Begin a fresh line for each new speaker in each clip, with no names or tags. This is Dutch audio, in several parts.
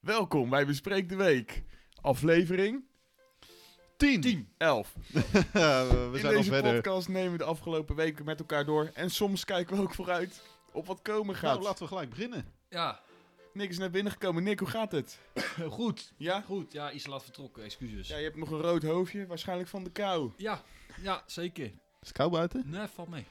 Welkom bij Bespreek de Week. Aflevering 10. 11.
we
In
zijn al
deze
verder.
podcast nemen we de afgelopen weken met elkaar door. En soms kijken we ook vooruit op wat komen gaat.
Nou, laten we gelijk beginnen.
Ja,
Nick is net binnengekomen. Nick, hoe gaat het?
goed.
Ja?
Goed, ja, iets laat vertrokken, excuses.
Ja,
Ja,
je hebt nog een rood hoofdje. Waarschijnlijk van de kou.
ja, zeker.
Is het koud buiten?
Nee, valt mee.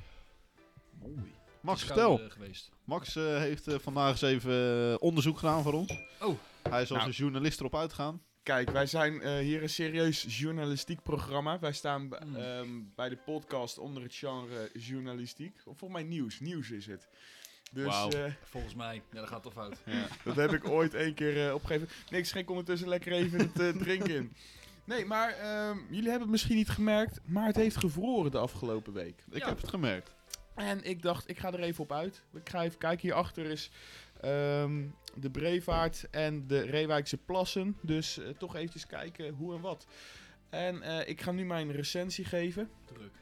Mooi.
Max, vertel.
geweest.
Max eh, heeft eh, vandaag eens even eh, onderzoek gedaan voor ons.
Oh.
Hij is als
Nou.
een journalist erop uitgegaan.
Kijk, wij zijn eh, hier een serieus journalistiek programma. Wij staan b-
Hmm.
ehm, bij de podcast onder het genre journalistiek. Of volgens mij nieuws. Nieuws is het. Dus
Wauw.
eh,
Volgens mij, ja, dat gaat toch fout.
dat heb ik ooit één keer eh, opgegeven. Niks, schenk ondertussen lekker even het eh, drinken in. Nee, maar ehm, jullie hebben het misschien niet gemerkt, maar het heeft gevroren de afgelopen week.
Ik
Ja.
heb het gemerkt.
En ik dacht, ik ga er even op uit. Ik ga even kijken, hierachter is ehm, de Brevaart en de Reewijkse Plassen. Dus eh, toch eventjes kijken hoe en wat. En eh, ik ga nu mijn recensie geven.
Druk.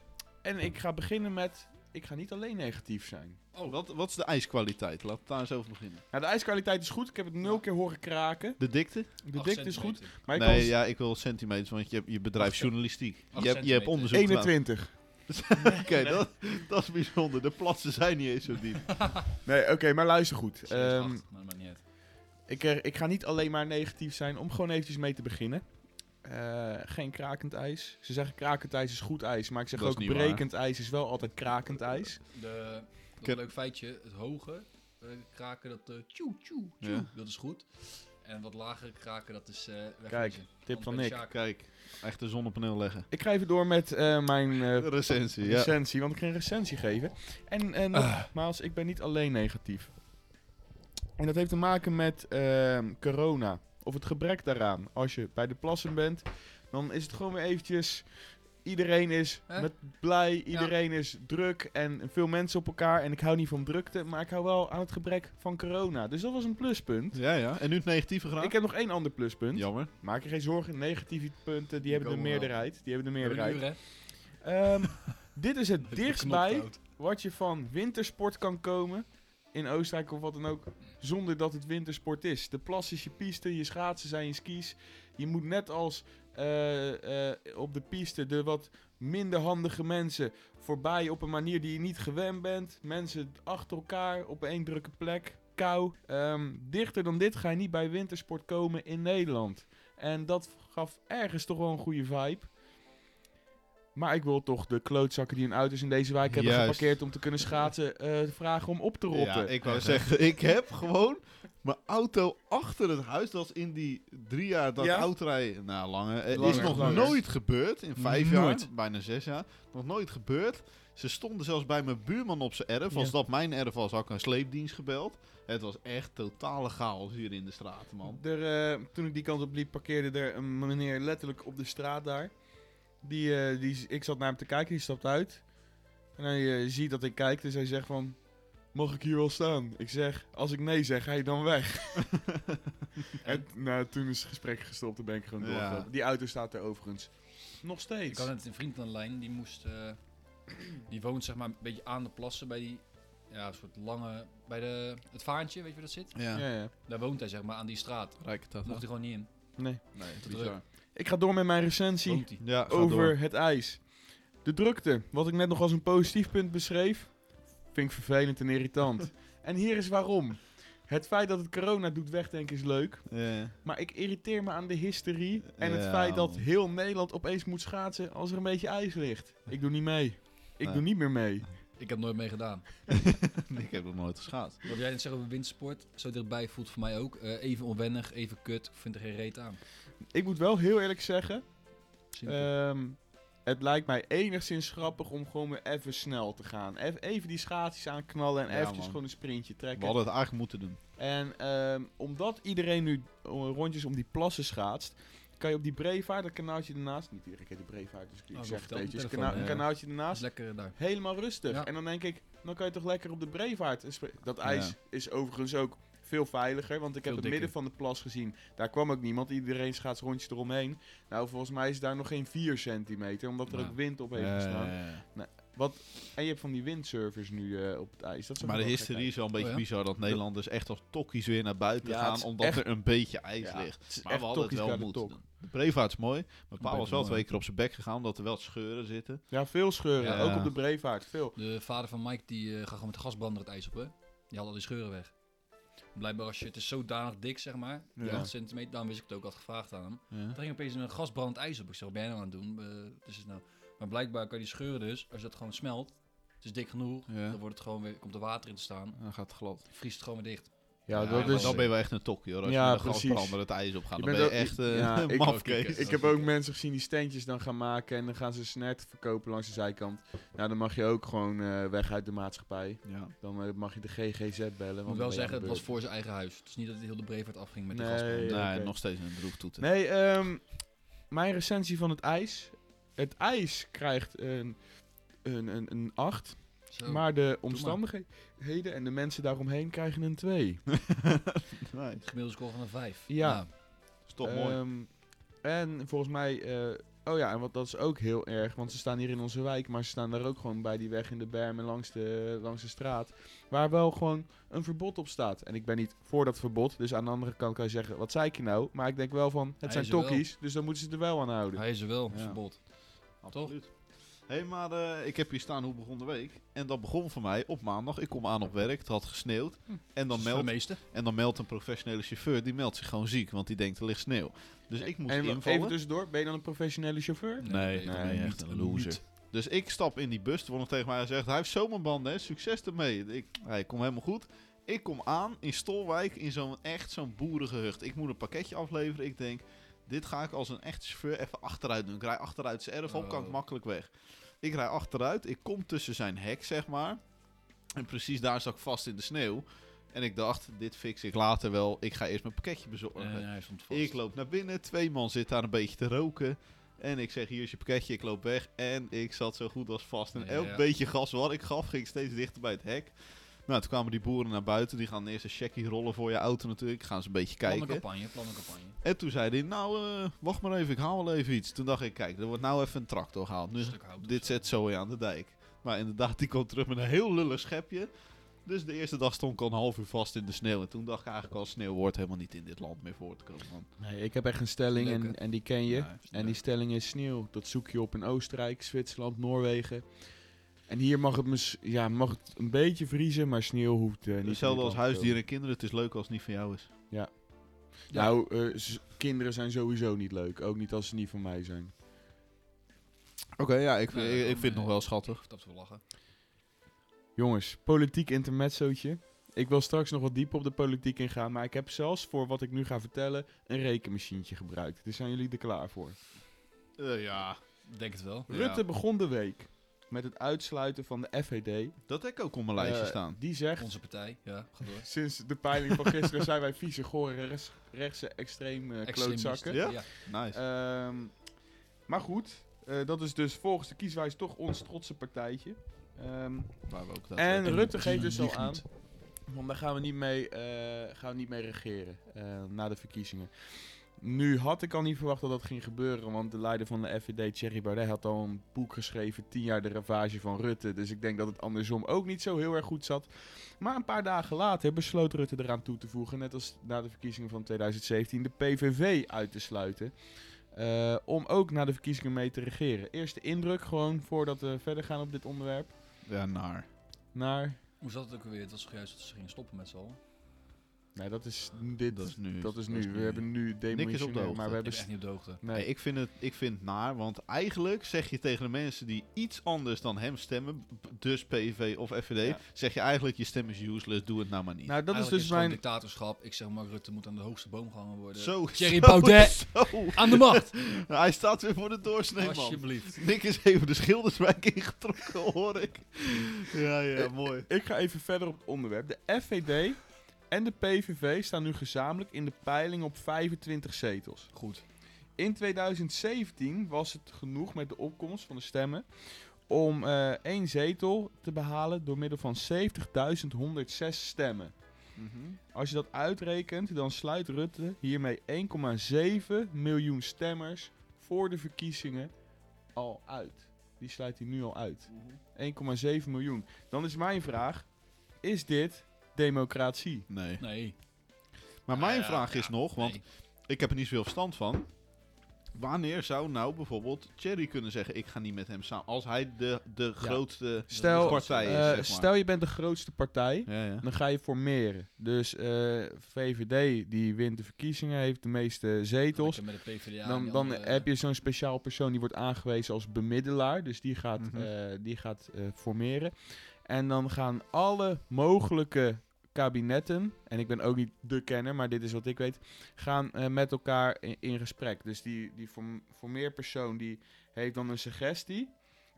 En ik ga beginnen met, ik ga niet alleen negatief zijn.
Oh.
Wat, wat is de ijskwaliteit? Laten we daar eens over beginnen.
Nou, de ijskwaliteit is goed. Ik heb het nul
Ja.
keer horen kraken.
De dikte?
De
Acht
dikte is goed.
centimeter.
Maar ik
nee,
was
ja, ik wil centimeters, want je, hebt- je bedrijft
Acht-
journalistiek.
acht
Je hebt, je hebt
centimeter.
onderzoek gedaan.
21.
Oké, dat, dat is bijzonder. De plassen zijn niet eens zo diep.
Nee, oké, maar luister goed.
Slechts
Ehm,
acht, maar dat maakt niet uit.
ik, eh, ik ga niet alleen maar negatief zijn, om gewoon eventjes mee te beginnen. Eh, geen krakend ijs. Ze zeggen krakend ijs is goed ijs, maar ik zeg
Dat is
ook
niet waar.
brekend ijs is wel altijd krakend ijs.
De, nog
Ken-
een leuk feitje, het hoge eh, kraken, dat eh tjoe, tjoe, tjoe,
Ja.
dat is goed. En wat lagere kraken, dat is eh wegwezen.
Tip
Anders
van
ben je
Nick.
Sjaak.
Kijk, echt een zonnepaneel leggen.
Ik ga even door met eh, mijn eh,
Recensie, ja.
recensie, want ik ga een recensie geven. En, en nogmaals, ik ben niet alleen negatief. En dat heeft te maken met ehm, corona. Of het gebrek daaraan. Als je bij de plassen bent, dan is het gewoon weer eventjes... Iedereen is
Hè?
met blij, iedereen is druk en veel mensen op elkaar. En ik hou niet van drukte, maar ik hou wel aan het gebrek van corona. Dus dat was een pluspunt.
Ja, ja. En nu het negatieve graag.
Ik heb nog één ander pluspunt.
Jammer.
Maak je geen zorgen, negatieve punten, die hebben de
komen wel.
meerderheid. Die hebben de
We hebben een
meerderheid.
uur, hè?
Ehm, dit is het
Even de
dichtstbij
knop fout.
wat je van wintersport kan komen. In Oostenrijk of wat dan ook. Zonder dat het wintersport is. De plas is je piste, je schaatsen zijn je skis. Je moet net als eh, eh, op de piste de wat minder handige mensen voorbij op een manier die je niet gewend bent. Mensen achter elkaar op één drukke plek. Kou. Ehm, dichter dan dit ga je niet bij wintersport komen in Nederland. En dat gaf ergens toch wel een goede vibe. Maar ik wil toch de klootzakken die hun auto's in deze wijk hebben
Juist.
geparkeerd om te kunnen schaatsen, eh, vragen om op te rotten.
Ja, ik wou zeggen, ik heb gewoon mijn auto achter het huis. Dat is in die drie jaar dat
Ja?
ik auto rij, nou langer, eh, is
Langer,
nog
langer.
nooit gebeurd. In vijf
Nooit.
jaar, bijna zes jaar, nog nooit gebeurd. Ze stonden zelfs bij mijn buurman op zijn erf. Als
Ja.
dat mijn erf was, had ik een sleepdienst gebeld. Het was echt totale chaos hier in de straat, man.
Er, eh, toen ik die kant op liep, parkeerde er een meneer letterlijk op de straat daar. Die, eh, die, ik zat naar hem te kijken, die stapt uit. En hij eh, ziet dat ik kijk, dus hij zegt van... Mag ik hier wel staan? Ik zeg, als ik nee zeg, ga je dan weg. en nou, toen is het gesprek gestopt en ben ik gewoon
Ja.
doorgelopen. Die auto staat er overigens. Nog
Ik
steeds.
had net een vriend aan de lijn, die moest... eh, die woont zeg maar een beetje aan de plassen bij die... Ja, een soort lange... Bij de, het vaantje, weet je waar dat zit?
Ja,
Ja, ja.
Daar woont hij zeg maar, aan die straat.
rijk dat.
Daar mocht hij gewoon niet in.
Nee.
Nee,
Te
bizar.
druk.
Ik ga door met mijn recensie.
Woont hij.
Ja, ga
over
door.
het ijs. De drukte, wat ik net nog als een positief punt beschreef, vind ik vervelend en irritant. en hier is waarom. Het feit dat het corona doet wegdenken is leuk,
Ja.
maar ik irriteer me aan de hysterie en het
Ja,
feit dat
man.
heel Nederland opeens moet schaatsen als er een beetje ijs ligt. Ik doe niet mee. Ik
Nee.
doe niet meer mee.
Ik heb nooit mee gedaan.
ik heb nog nooit geschaat.
Wat jij net zegt over wintersport, zo dichtbij voelt voor mij ook. eh, even onwennig, even kut. Ik vind er geen reet aan.
Ik moet wel heel eerlijk zeggen,
Simpel.
Ehm, het lijkt mij enigszins grappig om gewoon weer even snel te gaan. Ev- Even die schaatsjes aanknallen en
Ja,
eventjes
man.
gewoon een sprintje
We
trekken.
hadden het eigenlijk moeten doen.
En ehm, omdat iedereen nu eh, rondjes om die plassen schaatst, kan je op die brevaart, dat kanaaltje ernaast, niet iedere keer de brevaart, dus ik zeg
Oh, dat
het
vertelt
eventjes,
mijn telefoon,
kana-
ja.
kanaaltje
dat is
ernaast,
lekker daar.
helemaal rustig.
Ja.
En dan denk ik, dan kan je toch lekker op de brevaart. een spe- Dat ijs
Ja.
is overigens ook veel veiliger, want ik
Veel
heb het
dikker.
midden van de plas gezien. Daar kwam ook niemand, iedereen schaats rondjes eromheen. Nou, volgens mij is daar nog geen 4 centimeter, omdat er
Ja.
ook wind op heeft
Eh,
gestaan. Wat, en je hebt van die windsurfers nu eh, op het ijs. Dat is ook
Maar de
wel
historie
gekheid.
is wel een beetje
Oh, ja?
bizar dat Nederlanders echt als tokkies weer naar buiten
Ja, het
gaan
is
omdat
echt-
er een beetje ijs
Ja,
ligt.
het is
Maar
echt
we hadden het
tokkies
wel
naar de
moeten
tok.
doen. De Brevaart is mooi. Mijn pa
Brevaart
was
is
wel
mooi.
twee keer op zijn bek gegaan omdat er wel scheuren zitten.
Ja, veel scheuren.
Ja.
Ook op de Brevaart, veel.
De vader van Mike die eh, gaat gewoon met de gasbrander het ijs op, hè? Die haalt al die scheuren weg. Blijkbaar als je, het is zodanig dik, zeg maar, die
Ja.
8 centimeter, daarom wist ik het ook, had gevraagd aan hem.
Ja.
Toen ging opeens een gasbrand ijs op. Ik zeg, wat ben jij nou aan het doen? Eh, dus is nou... Maar blijkbaar kan die scheuren dus, als dat gewoon smelt, het is dik genoeg,
Ja.
dan wordt het gewoon weer, komt er water in te staan,
Dan gaat het glad.
vriest het gewoon weer dicht.
Ja,
Ja,
dat
maar
is...
Dan ben je wel echt een tokkie hoor. Als
Ja,
je met een
precies.
gasbrander het ijs op gaat,
Je
dan ben
bent
je
wel-
echt eh
Ja, ik-
mafkees.
Ik heb ook mensen gezien die standjes dan gaan maken en dan gaan ze snert verkopen langs de zijkant. Nou, dan mag je ook gewoon eh, weg uit de maatschappij.
Ja.
Dan eh, mag je de GGZ bellen. want
Ik moet
dan
wel
ben je aan
zeggen,
de
het was
beurt.
voor zijn eigen huis. Het is niet dat het heel de Brevert afging met de
Nee.
gasbrand.
Nee,
oké.
nog steeds een droeftoeter.
Nee, ehm, mijn recensie van het ijs. Het ijs krijgt een, een, een, een 8,
Oh,
Zo.
maar de omstandigheden en de mensen daaromheen krijgen een 2.
Nice.
Gemiddelde score van een 5.
Ja.
Is toch mooi.
Ehm, En volgens mij, eh, oh ja, en wat, dat is ook heel erg, want ze staan hier in onze wijk, maar ze staan daar ook gewoon bij die weg in de berm en langs de, langs de straat, waar wel gewoon een verbod op staat. En ik ben niet voor dat verbod, dus aan de andere kant kan je zeggen, wat zei ik je nou? Maar ik denk wel van, het
Hij
zijn
is er wel.
tokkies, dus dan moeten ze er wel aan houden.
Hij is er wel,
Ja.
verbod.
Hé, hey, maar eh, ik heb hier staan hoe begon de week. En dat begon voor mij op maandag. Ik kom aan op werk, het had gesneeuwd.
Hm.
En dan
Dat is voor
meldt
de meeste.
En dan meldt een professionele chauffeur, die meldt zich gewoon ziek, want die denkt er ligt sneeuw. Dus ik moest
en wa-
invallen.
even tussendoor, ben je dan een professionele chauffeur?
Nee,
nee,
nee, echt
niet,
een loser.
niet.
Dus ik stap in die bus, er wordt nog tegen mij gezegd, hij heeft zomerbanden, hè, succes ermee. Ik, hij komt helemaal goed. Ik kom aan in Stolwijk, in zo'n echt zo'n boerengehucht. Ik moet een pakketje afleveren, ik denk, dit ga ik als een echte chauffeur even achteruit doen. Ik rij achteruit zijn erf op, kan ik
Oh.
makkelijk weg. Ik rij achteruit, ik kom tussen zijn hek, zeg maar. En precies daar zat ik vast in de sneeuw. En ik dacht, dit fix ik later wel. Ik ga eerst mijn pakketje bezorgen.
En Eh, hij stond vast.
Ik loop naar binnen, twee man zit daar een beetje te roken. En ik zeg, hier is je pakketje, ik loop weg. En ik zat zo goed als vast. En
Ja.
elk beetje gas wat ik gaf, ging steeds dichter bij het hek. Nou, toen kwamen die boeren naar buiten. Die gaan eerst een checkie rollen voor je auto natuurlijk. Gaan ze een beetje kijken.
Plannencampagne, plannencampagne.
En toen zei hij, nou, eh, wacht maar even, ik haal wel even iets. Toen dacht ik, kijk, er wordt nou even een tractor gehaald. Nu,
Een stuk hout of
dit
zo.
zet Zoe aan de dijk. Maar inderdaad, die komt terug met een heel lullig schepje. Dus de eerste dag stond ik al een half uur vast in de sneeuw. En toen dacht ik eigenlijk al, sneeuw hoort helemaal niet in dit land meer voor te komen. man.
Nee, ik heb echt een stelling
Leuk,
en,
hè?
en die ken je.
Ja.
En die stelling is sneeuw. Dat zoek je op in Oostenrijk, Zwitserland, Noorwegen. En hier mag het, mis- ja, mag het een beetje vriezen, maar sneeuw hoeft eh, niet.
Hetzelfde
van
als
die kant
huisdieren en kinderen. Het is leuk als het niet van jou is.
te komen. Nou, eh, z- kinderen zijn sowieso niet leuk. Ook niet als ze niet van mij zijn.
Oké, ja, ik,
Nee, ik- ik dan, vind het eh, nog wel
schattig.
Of dat we lachen.
Jongens, politiek intermezzootje. Ik wil straks nog wat dieper op de politiek ingaan, maar ik heb zelfs voor wat ik nu ga vertellen een rekenmachientje gebruikt. Dus zijn jullie er klaar voor?
Eh, ja,
Ik Denk het wel.
Ja.
Rutte begon de week met het uitsluiten van de FVD.
dat heb ik ook op mijn lijstje
Eh,
staan.
Die zegt,
Onze partij, ja, ga door.
Sinds de peiling van gisteren zijn wij vieze, gore, rechts, rechtse, extreem eh, klootzakken.
Ja?
Extremisten,
Nice.
Ehm, maar goed, eh, dat is dus volgens de kieswijze toch ons trotse partijtje. Ehm,
Waar we ook dat
en
weten.
Rutte geeft dus al
liegt
aan,
niet.
want daar gaan we niet mee, eh, gaan we niet mee regeren eh, na de verkiezingen. Nu had ik al niet verwacht dat dat ging gebeuren, want de leider van de FVD, Thierry Baudet, had al een boek geschreven, 10 jaar de ravage van Rutte. Dus ik denk dat het andersom ook niet zo heel erg goed zat. Maar een paar dagen later besloot Rutte eraan toe te voegen, net als na de verkiezingen van 2017, de PVV uit te sluiten. eh, om ook na de verkiezingen mee te regeren. Eerste indruk, gewoon voordat we verder gaan op dit onderwerp,
Ja, naar.
naar
Hoe zat het ook alweer? Het was zojuist dat ze gingen stoppen met z'n allen.
Nee, dat is dit.
Dat is nu.
nu. We hebben nu demissionair,
hoogte.
maar we hebben...
Ik ben echt
st-
niet op de hoogte.
Nee.
Nee, ik vind, het, ik vind het naar, want eigenlijk zeg je tegen de mensen die iets anders dan hem stemmen, b- dus PV of FVD,
Ja.
zeg je eigenlijk je stem is useless, doe het nou maar niet.
Nou, dat is
Eigenlijk
dus
het gewoon
mijn...
dictatorschap. Ik zeg, Mark Rutte moet aan de hoogste boom gehangen worden.
zo,
Thierry
zo,
Baudet.
zo.
Aan de macht!
Hij staat weer voor de doorsnee, man.
Alsjeblieft.
Nick is even de Schilderswijk ingetrokken, hoor ik. Ja, ja, mooi.
Ik ga even verder op het onderwerp. De FVD en de PVV staan nu gezamenlijk in de peiling op 25 zetels.
Goed.
In 2017 was het genoeg met de opkomst van de stemmen om eh, één zetel te behalen door middel van 70.106 stemmen. Als je dat uitrekent, dan sluit Rutte hiermee 1,7 miljoen stemmers voor de verkiezingen al uit. die sluit hij nu al uit. 1,7 miljoen. Dan is mijn vraag, is dit democratie?
Nee.
Nee.
Maar mijn
Ah, ja,
vraag is
ja,
nog, want
nee.
ik heb er niet zoveel verstand van. Wanneer zou nou bijvoorbeeld Thierry kunnen zeggen: Ik ga niet met hem samen? Als hij de, de grootste
Stel,
partij is.
eh,
zeg maar.
stel je bent de grootste partij,
ja, ja.
dan ga je formeren. Dus eh, VVD die wint de verkiezingen, heeft de meeste zetels.
Lekker Met de PvdA en
Dan,
die
dan
andere-
heb je zo'n speciaal persoon die wordt aangewezen als bemiddelaar. Dus die gaat,
Mhm.
eh, die gaat eh, formeren. En dan gaan alle mogelijke kabinetten, en ik ben ook niet de kenner, maar dit is wat ik weet, gaan eh, met elkaar in, in gesprek. Dus die, die form- formeerpersoon die heeft dan een suggestie.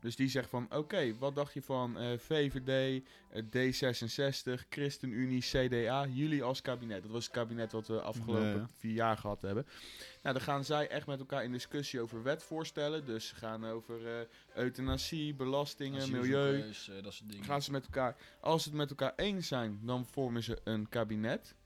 Dus die zegt van, oké, wat dacht je van eh, VVD, eh, D66, ChristenUnie, CDA, jullie als kabinet. Dat was het kabinet wat we afgelopen
Ja, ja.
vier jaar gehad hebben. Nou, dan gaan zij echt met elkaar in discussie over wetvoorstellen. Dus ze gaan over eh, euthanasie, belastingen, milieu.
asielzoekers, eh, dat soort dingen.
Gaan ze met elkaar, als ze het met elkaar eens zijn, dan vormen ze een kabinet.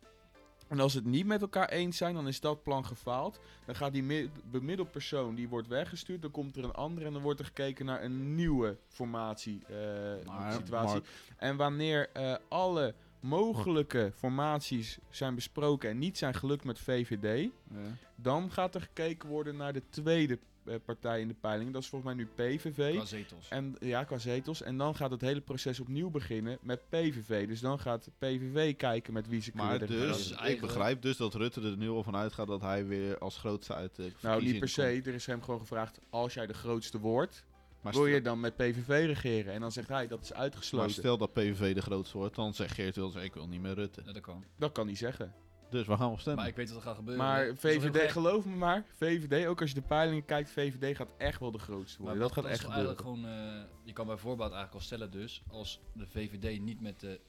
En als ze het niet met elkaar eens zijn, dan is dat plan gefaald. Dan gaat die mi- bemiddelpersoon, die wordt weggestuurd. Dan komt er een andere en dan wordt er gekeken naar een nieuwe formatie eh,
Maar,
situatie.
Mark,
En wanneer eh, alle mogelijke formaties zijn besproken en niet zijn gelukt met VVD,
ja.
dan gaat er gekeken worden naar de tweede eh, partij in de peiling. Dat is volgens mij nu PVV.
Qua zetels.
En ja, qua zetels. En dan gaat het hele proces opnieuw beginnen met PVV. Dus dan gaat PVV kijken met wie ze
Maar
kunnen regeren.
dat is
dus, ik
eigenlijk-
begrijp dus dat Rutte er nu al van uitgaat dat hij weer als grootste uit de
Nou, niet
verkiezingen
per se. Er is hem gewoon gevraagd, als jij de grootste wordt,
komt. Maar
wil je
stel-
dan met PVV regeren? En dan zegt hij, dat is
maar
uitgesloten.
stel dat PVV de grootste wordt, dan zegt Geert Wilders, ik wil niet meer Rutte.
Ja, dat kan.
Dat kan hij zeggen.
Dus we gaan we stemmen?
Maar ik weet Eh, dat er gaat gebeuren. Het
Maar
is toch heel gek?
VVD, geloof me maar, VVD, ook als je de peilingen kijkt, VVD gaat echt wel de grootste
Maar
worden. Dat gaat
is
echt
toch
gebeuren.
Eigenlijk gewoon, eh, je kan bij voorbaat eigenlijk al stellen dus, als de VVD niet met de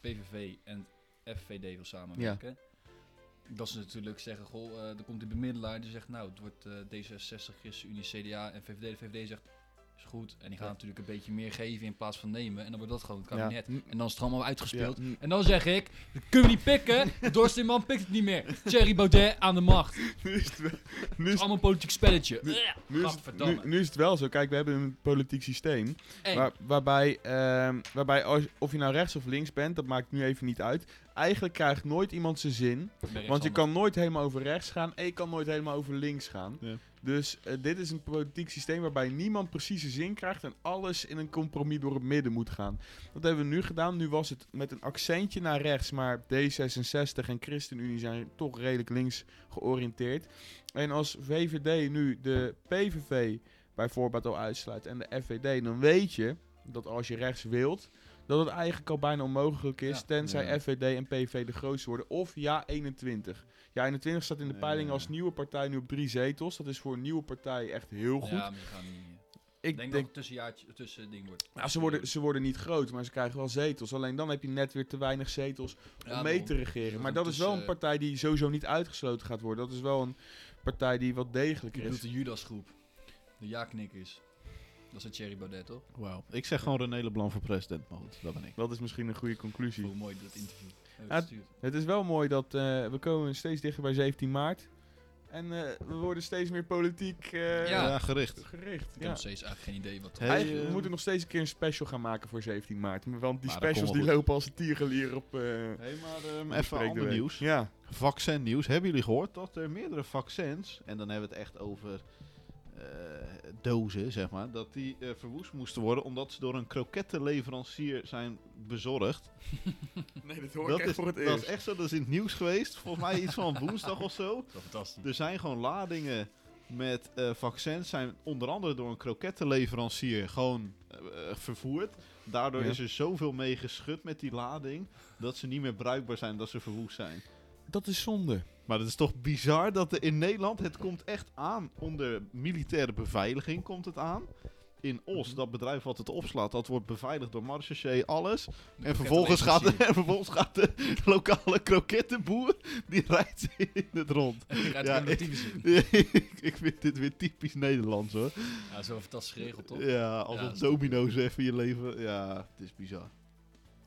PVV en FVD wil samenwerken, dat ze natuurlijk zeggen, goh, eh er komt die bemiddelaar die zegt, nou, het wordt eh, D66, ChristenUnie, CDA en VVD. De VVD zegt, is goed. En die gaan
Ja.
natuurlijk een beetje meer geven in plaats van nemen. En dan wordt dat gewoon het
Ja.
kabinet.
N-
En dan is het allemaal uitgespeeld.
Mm. Ja.
En dan zeg ik, dat kunnen we niet pikken. De Dorstenman pikt het niet meer. Thierry Baudet aan de macht. Het
Nu is het wel- nu
is
is-
allemaal een politiek spelletje.
Nu-
Ja,
nu is het-
gadverdamme.
nu- nu is het wel zo. Kijk, we hebben een politiek systeem.
Eng.
Waar- waarbij ehm, waarbij als- of je nou rechts of links bent, dat maakt nu even niet uit. Eigenlijk krijgt nooit iemand zijn zin. Want je kan nooit helemaal over rechts gaan en je kan nooit helemaal over links gaan.
Ja.
Dus eh, dit is een politiek systeem waarbij niemand precies zijn zin krijgt en alles in een compromis door het midden moet gaan. Dat hebben we nu gedaan. Nu was het met een accentje naar rechts, maar D66 en ChristenUnie zijn toch redelijk links georiënteerd. En als VVD nu de PVV bij voorbaat al uitsluit en de FVD, dan weet je dat als je rechts wilt, dat het eigenlijk al bijna onmogelijk is,
Ja.
tenzij
Ja.
FVD en PVV de grootste worden. Of ja, 21. Ja, 21 staat in de
Ja.
peiling als nieuwe partij nu op drie zetels. Dat is voor een nieuwe partij echt heel goed.
Ja, maar je gaat niet.
ik
eh, Ik denk,
denk,
dat het tussenjaartje tussen ding wordt.
nou, ze, worden, ze worden niet groot, maar ze krijgen wel zetels. Alleen dan heb je net weer te weinig zetels
Ja,
om mee
daarom.
te regeren.
Dus
Maar
dan
dat is wel een
tussen-
partij die sowieso niet uitgesloten gaat worden. Dat is wel een partij die wat
Ik
degelijker
bedoel
is.
de Judasgroep. De ja-knikkers. Dat is een Thierry Baudet, toch?
Wauw. Ik zeg gewoon René Leblanc voor president, maar goed, dat ben ik.
Dat is misschien een goede conclusie.
Hoe mooi dat interview. heeft
Ja,
gestuurd.
Het is wel mooi dat eh, we komen steeds dichter bij 17 maart. En eh, we worden steeds meer politiek eh,
Ja.
gericht.
gericht.
Ik heb
Ja.
nog steeds eigenlijk geen idee wat
Hey,
Eigenlijk, we
eh,
moeten nog steeds een keer een special gaan maken voor 17 maart. Maar Want die
Maar dat
specials
komt
die
wel goed.
lopen als een tiergelier op... eh op
Hé, maar ehm,
de
even
spreekbeurt.
ander nieuws.
Ja.
Vaccinnieuws. Hebben jullie gehoord dat er meerdere vaccins, en dan hebben we het echt over eh, dozen, zeg maar, dat die eh, verwoest moesten worden omdat ze door een krokettenleverancier zijn bezorgd.
Nee, dat hoor
dat
ik echt
is,
voor het
dat is
eerst.
echt zo, dat is in het nieuws geweest. Volgens mij iets van woensdag of zo.
Dat is fantastisch.
Er zijn gewoon ladingen met eh, vaccins. Zijn onder andere door een krokettenleverancier gewoon eh, eh, vervoerd. Daardoor
Ja.
is er zoveel mee geschud met die lading. dat ze niet meer bruikbaar zijn, dat ze verwoest zijn.
Dat is zonde.
Maar het is toch bizar dat er in Nederland. het komt echt aan onder militaire beveiliging. komt het aan. In Os, dat bedrijf wat het opslaat, dat wordt beveiligd door marechaussee, alles. En vervolgens, gaat de, en vervolgens gaat de lokale krokettenboer, die rijdt in het rond. ja,
Ja,
ik-
ja,
ik, ik vind dit weer typisch Nederlands hoor.
dat is wel fantastisch geregeld, toch?
Ja, als
Ja,
dat
dat is
domino's even je leven. Ja, het is bizar.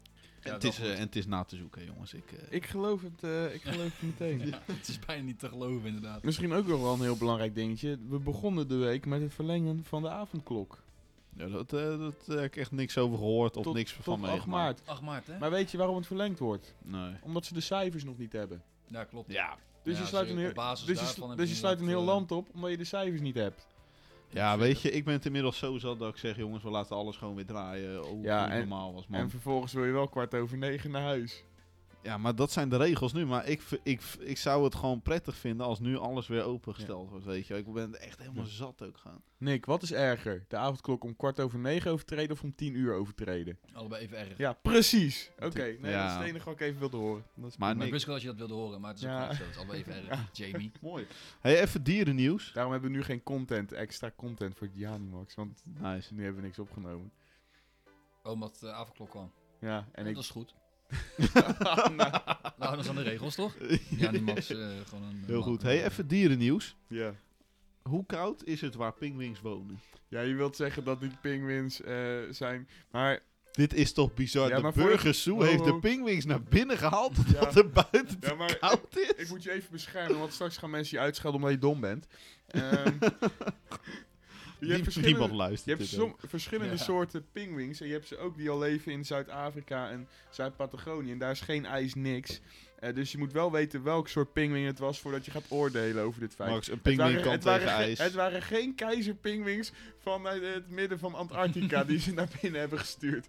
en,
Ja,
het is,
wel goed.
eh, en het is na te zoeken, jongens. Ik, eh,
Ik geloof het, eh, ik geloof het meteen.
Ja, het is bijna niet te geloven, inderdaad.
Misschien ook nog wel een heel belangrijk dingetje. We begonnen de week met het verlengen van de avondklok.
Ja, dat, eh, dat eh, heb ik echt niks over gehoord of
tot,
niks
tot
van
8
meegemaakt.
maart.
8 maart, hè?
Maar weet je waarom het verlengd wordt?
Nee.
Omdat ze de cijfers nog niet hebben.
ja, klopt.
Ja.
Dus
Ja,
je sluit
ze-
een
op
heel,
basis
dus je,
daarvan
slu-
heb eh,
dus je sluit een heel
inderdaad,
land op omdat je de cijfers niet hebt.
ja, weet je, ik ben het inmiddels zo zat dat ik zeg, jongens, we laten alles gewoon weer draaien. Oh, Hoe
Ja,
hoe het
en-
normaal was, man.
En vervolgens wil je wel kwart over negen naar huis.
Ja, maar dat zijn de regels nu. Maar ik, v- ik, v- ik zou het gewoon prettig vinden als nu alles weer opengesteld wordt, weet je. Ik ben er echt helemaal
Ja.
zat ook gaan.
Nick, wat is erger? De avondklok om kwart over negen overtreden of om tien uur overtreden?
eh, Allebei even erg.
Ja, precies. Oké, nee,
Ja.
dat is het enige wat ik even wilde horen. Dat is
Maar
Maar ik
Nick,
wist wel dat je dat wilde horen, maar het is ook
Ja.
gewoon zo. Het is allebei even erg. Jamie.
mooi. Hey, even dierennieuws.
Daarom hebben we nu geen content, extra content voor Dianimax, want
Nice.
nu hebben we niks opgenomen.
Oh, omdat de avondklok kwam.
Ja, en
dat
ik...
is goed.
Nou,
Nou, dat zijn de regels, toch? Ja, die Max eh, gewoon een...
Heel goed.
Hé,
Hey, even dierennieuws.
ja.
Hoe koud is het waar pinguïns wonen?
ja, je wilt zeggen dat die penguins eh, zijn, maar...
Dit is toch bizar.
Ja,
de
maar voor-
Burgers Zoo
Ho,
heeft
ho.
de pinguïns naar binnen gehaald omdat
Ja.
het buiten
Ja, maar
te koud is.
Ik moet je even beschermen, want straks gaan mensen je uitschelden omdat je dom bent. Ehm, je hebt
Niem-
verschillende,
Niemand luistert.
je hebt
dit
som-
ook.
verschillende
Ja.
soorten pinguïns. En je hebt ze ook die al leven in Zuid-Afrika en Zuid-Patagonië. En daar is geen ijs niks. Eh, dus je moet wel weten welk soort pinguïn het was voordat je gaat oordelen over dit feit.
Max, een
Het waren-
pinguïn kan
het waren
tegen
ge-
ijs.
Het waren geen keizerpinguïns van eh, het midden van Antarctica die ze naar binnen hebben gestuurd.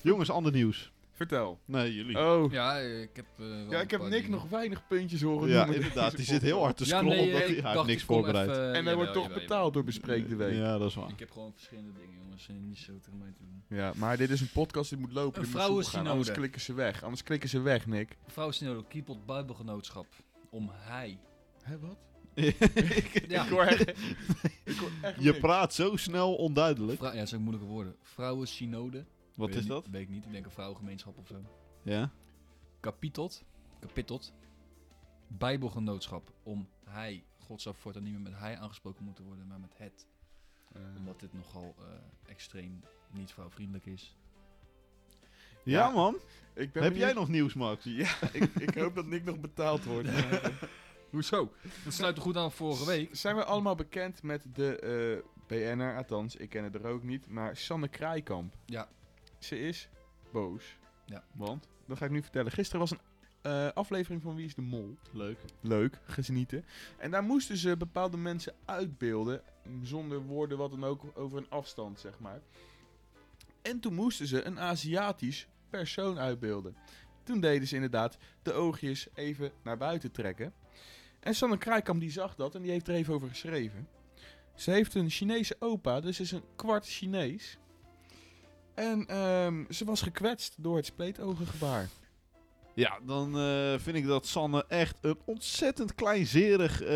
Jongens, ander nieuws.
Vertel.
Nee, jullie.
Oh,
Ja, eh, ik heb... eh, wel
ja,
een
ik heb
paar
Nick
dingen.
nog weinig puntjes horen
ja,
noemen in
inderdaad.
deze
Die zit heel hard te scrollen.
nee, eh,
omdat
ik
hij- hij heeft
dacht,
niks
ik kom
voorbereid.
even- eh,
En hij
jawel,
wordt toch
jawel,
betaald door Bespreek de Week. Ja.
Ja, dat is
jawel.
waar.
Ik heb gewoon verschillende dingen, jongens. en Niet zo tegen mij te doen.
maar dit is een podcast die moet lopen.
Een
die moet
vrouwen
soepel gaan, Anders
synode.
klikken ze weg. Anders klikken ze weg, Nick.
Mevrouw Sinodo, Kiepelt Bijbelgenootschap. Om hij.
Hé, wat?
Ja,
Ik hoor echt, ik hoor echt
Je
niks.
praat zo snel onduidelijk.
Vrou- ja, dat zijn moeilijke woorden. Vrouwen Synode.
Wat
Weet
is
ik
dat?
niet- Weet ik niet. Ik denk een vrouwengemeenschap of zo.
Ja.
Kapitelt. Kapitelt. Bijbelgenootschap. Om hij. God zou voortaan niet meer met hij aangesproken moeten worden, maar met het.
Eh,
Omdat dit nogal eh, extreem niet vrouwvriendelijk is.
Ja, man.
ik ben
Heb jij
benieuwd-
nog nieuws, Max?
Ja, ik, ik hoop dat Nick nog betaald wordt.
Hoezo? Dat sluit er goed aan vorige week.
Zijn we allemaal bekend met de eh, BN'er, althans, ik ken het er ook niet, maar Sanne Kraaikamp.
Ja.
Ze is boos.
Ja.
Want, dat ga ik nu vertellen. Gisteren was een eh, aflevering van Wie is de Mol.
Leuk.
Leuk, genieten. En daar moesten ze bepaalde mensen uitbeelden, mm, zonder woorden wat dan ook, over een afstand, zeg maar. En toen moesten ze een Aziatisch persoon uitbeelden. Toen deden ze inderdaad de oogjes even naar buiten trekken. En Sanne Kraaikamp die zag dat en die heeft er even over geschreven. Ze heeft een Chinese opa, dus is een kwart Chinees. En ehm, ze was gekwetst door het spleetogengebaar.
Ja, dan eh, vind ik dat Sanne echt een ontzettend kleinzerig eh,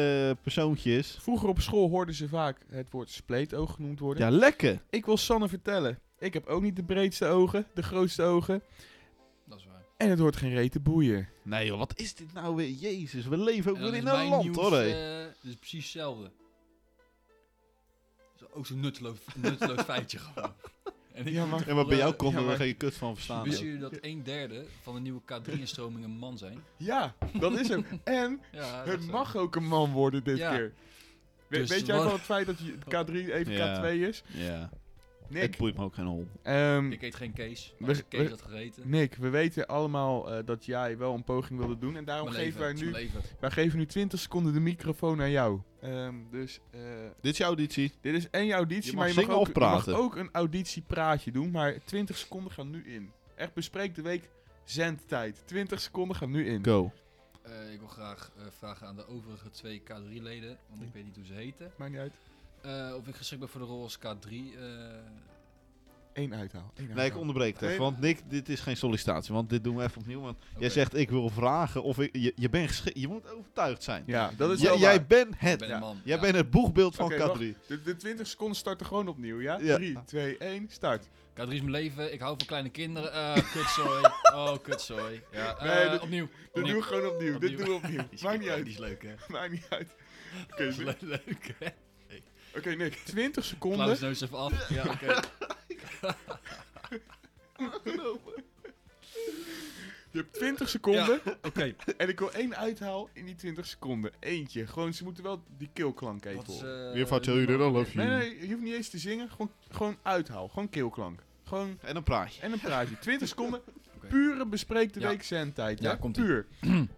persoontje is.
Vroeger op school hoorden ze vaak het woord spleetoog genoemd worden.
Ja, lekker.
Ik wil Sanne vertellen. Ik heb ook niet de breedste ogen, de grootste ogen.
Dat is waar.
En het hoort geen reet te boeien.
Nee joh, wat is dit nou weer? Jezus, we leven ook
En dan
weer
is
in een
mijn
nou land
nieuws,
hoor. hé.
eh, dat is precies hetzelfde. Dat is ook zo'n nutteloos, nutteloos feitje gewoon. En ik
Ja,
moet
maar-
er
ja, maar bij jou
voor,
konden
eh, ja, maar-
we geen kut van verstaan.
Wist
ook.
jullie dat een derde van de nieuwe K3-instromingen man zijn?
Ja, dat is hem. en
Ja, dat
het
is, eh,
mag ook een man worden dit
Ja.
keer. We-
Dus
weet jij
wat-
van het feit dat je K3 even
Ja.
K2 is?
Ja, het
Nick,
boeit me ook geen hol.
ehm,
Ik eet geen Kees,
We-
maar als ik Kees
we-
had gegeten...
Nick, we weten allemaal eh, dat jij wel een poging wilde doen. En daarom
Mijn
geven
leven,
wij
het is
Nou, nu,
mijn leven.
wij geven nu 20 seconden de microfoon aan jou. Ehm, dus eh,
Dit is jouw auditie.
dit is één auditie,
Je mag
maar je mag,
zingen
ook,
of praten.
je mag ook een auditiepraatje doen. Maar 20 seconden gaan nu in. Echt bespreek de week zendtijd. 20 seconden gaan nu in.
Go.
Eh, ik wil graag eh, vragen aan de overige twee K3-leden, want ik weet niet hoe ze heten.
Maakt niet uit.
eh, of ik geschikt ben voor de rol als K3. eh,
Eén uithaal. Eén
Nee, ik
uithaal.
onderbreek het
Nee.
even, want Nick, dit is geen sollicitatie, want dit doen we even opnieuw. Want
oké.
jij zegt, ik wil vragen of ik, je, je bent geschikt, je moet overtuigd zijn.
Ja, dat is
Jij-
wel
jij
waar.
bent
Ik
het.
ben
ja.
een man.
Jij
ja.
bent het boegbeeld van
Oké, Eh,
K3.
De, de 20 seconden starten gewoon opnieuw, ja?
Ja.
3, 2, 1, start.
K3 is mijn leven, ik hou van kleine kinderen. Eh kutzooi. Oh, kutzooi. Ja, eh,
Nee, dat-
opnieuw.
Dit doen
opnieuw.
we gewoon opnieuw. Dit
Opnieuw.
doen we opnieuw.
Die is-
Maakt niet
Die is
uit.
leuk, hè?
Maakt niet uit. Oké,
Die is
Nick-
le- leuk, hè?
oké, Nick. 20
Klauw
seconden.
eens neus even af. Ja, oké.
Je hebt 20 seconden
Oké,
en ik wil één uithaal in die 20 seconden. Eentje. Gewoon, ze moeten wel die keelklank even
wat is...
horen.
eh,
Weer van
de
tell you that I
nummer?
love you.
Nee, nee, je hoeft niet eens te zingen. Gewoon, gewoon uithaal. Gewoon keelklank. Gewoon,
En dan praat je.
en een praatje. 20 seconden.
Oké.
Pure bespreek de
Ja.
week zendtijd.
Ja,
hè?
komt-ie.
Puur.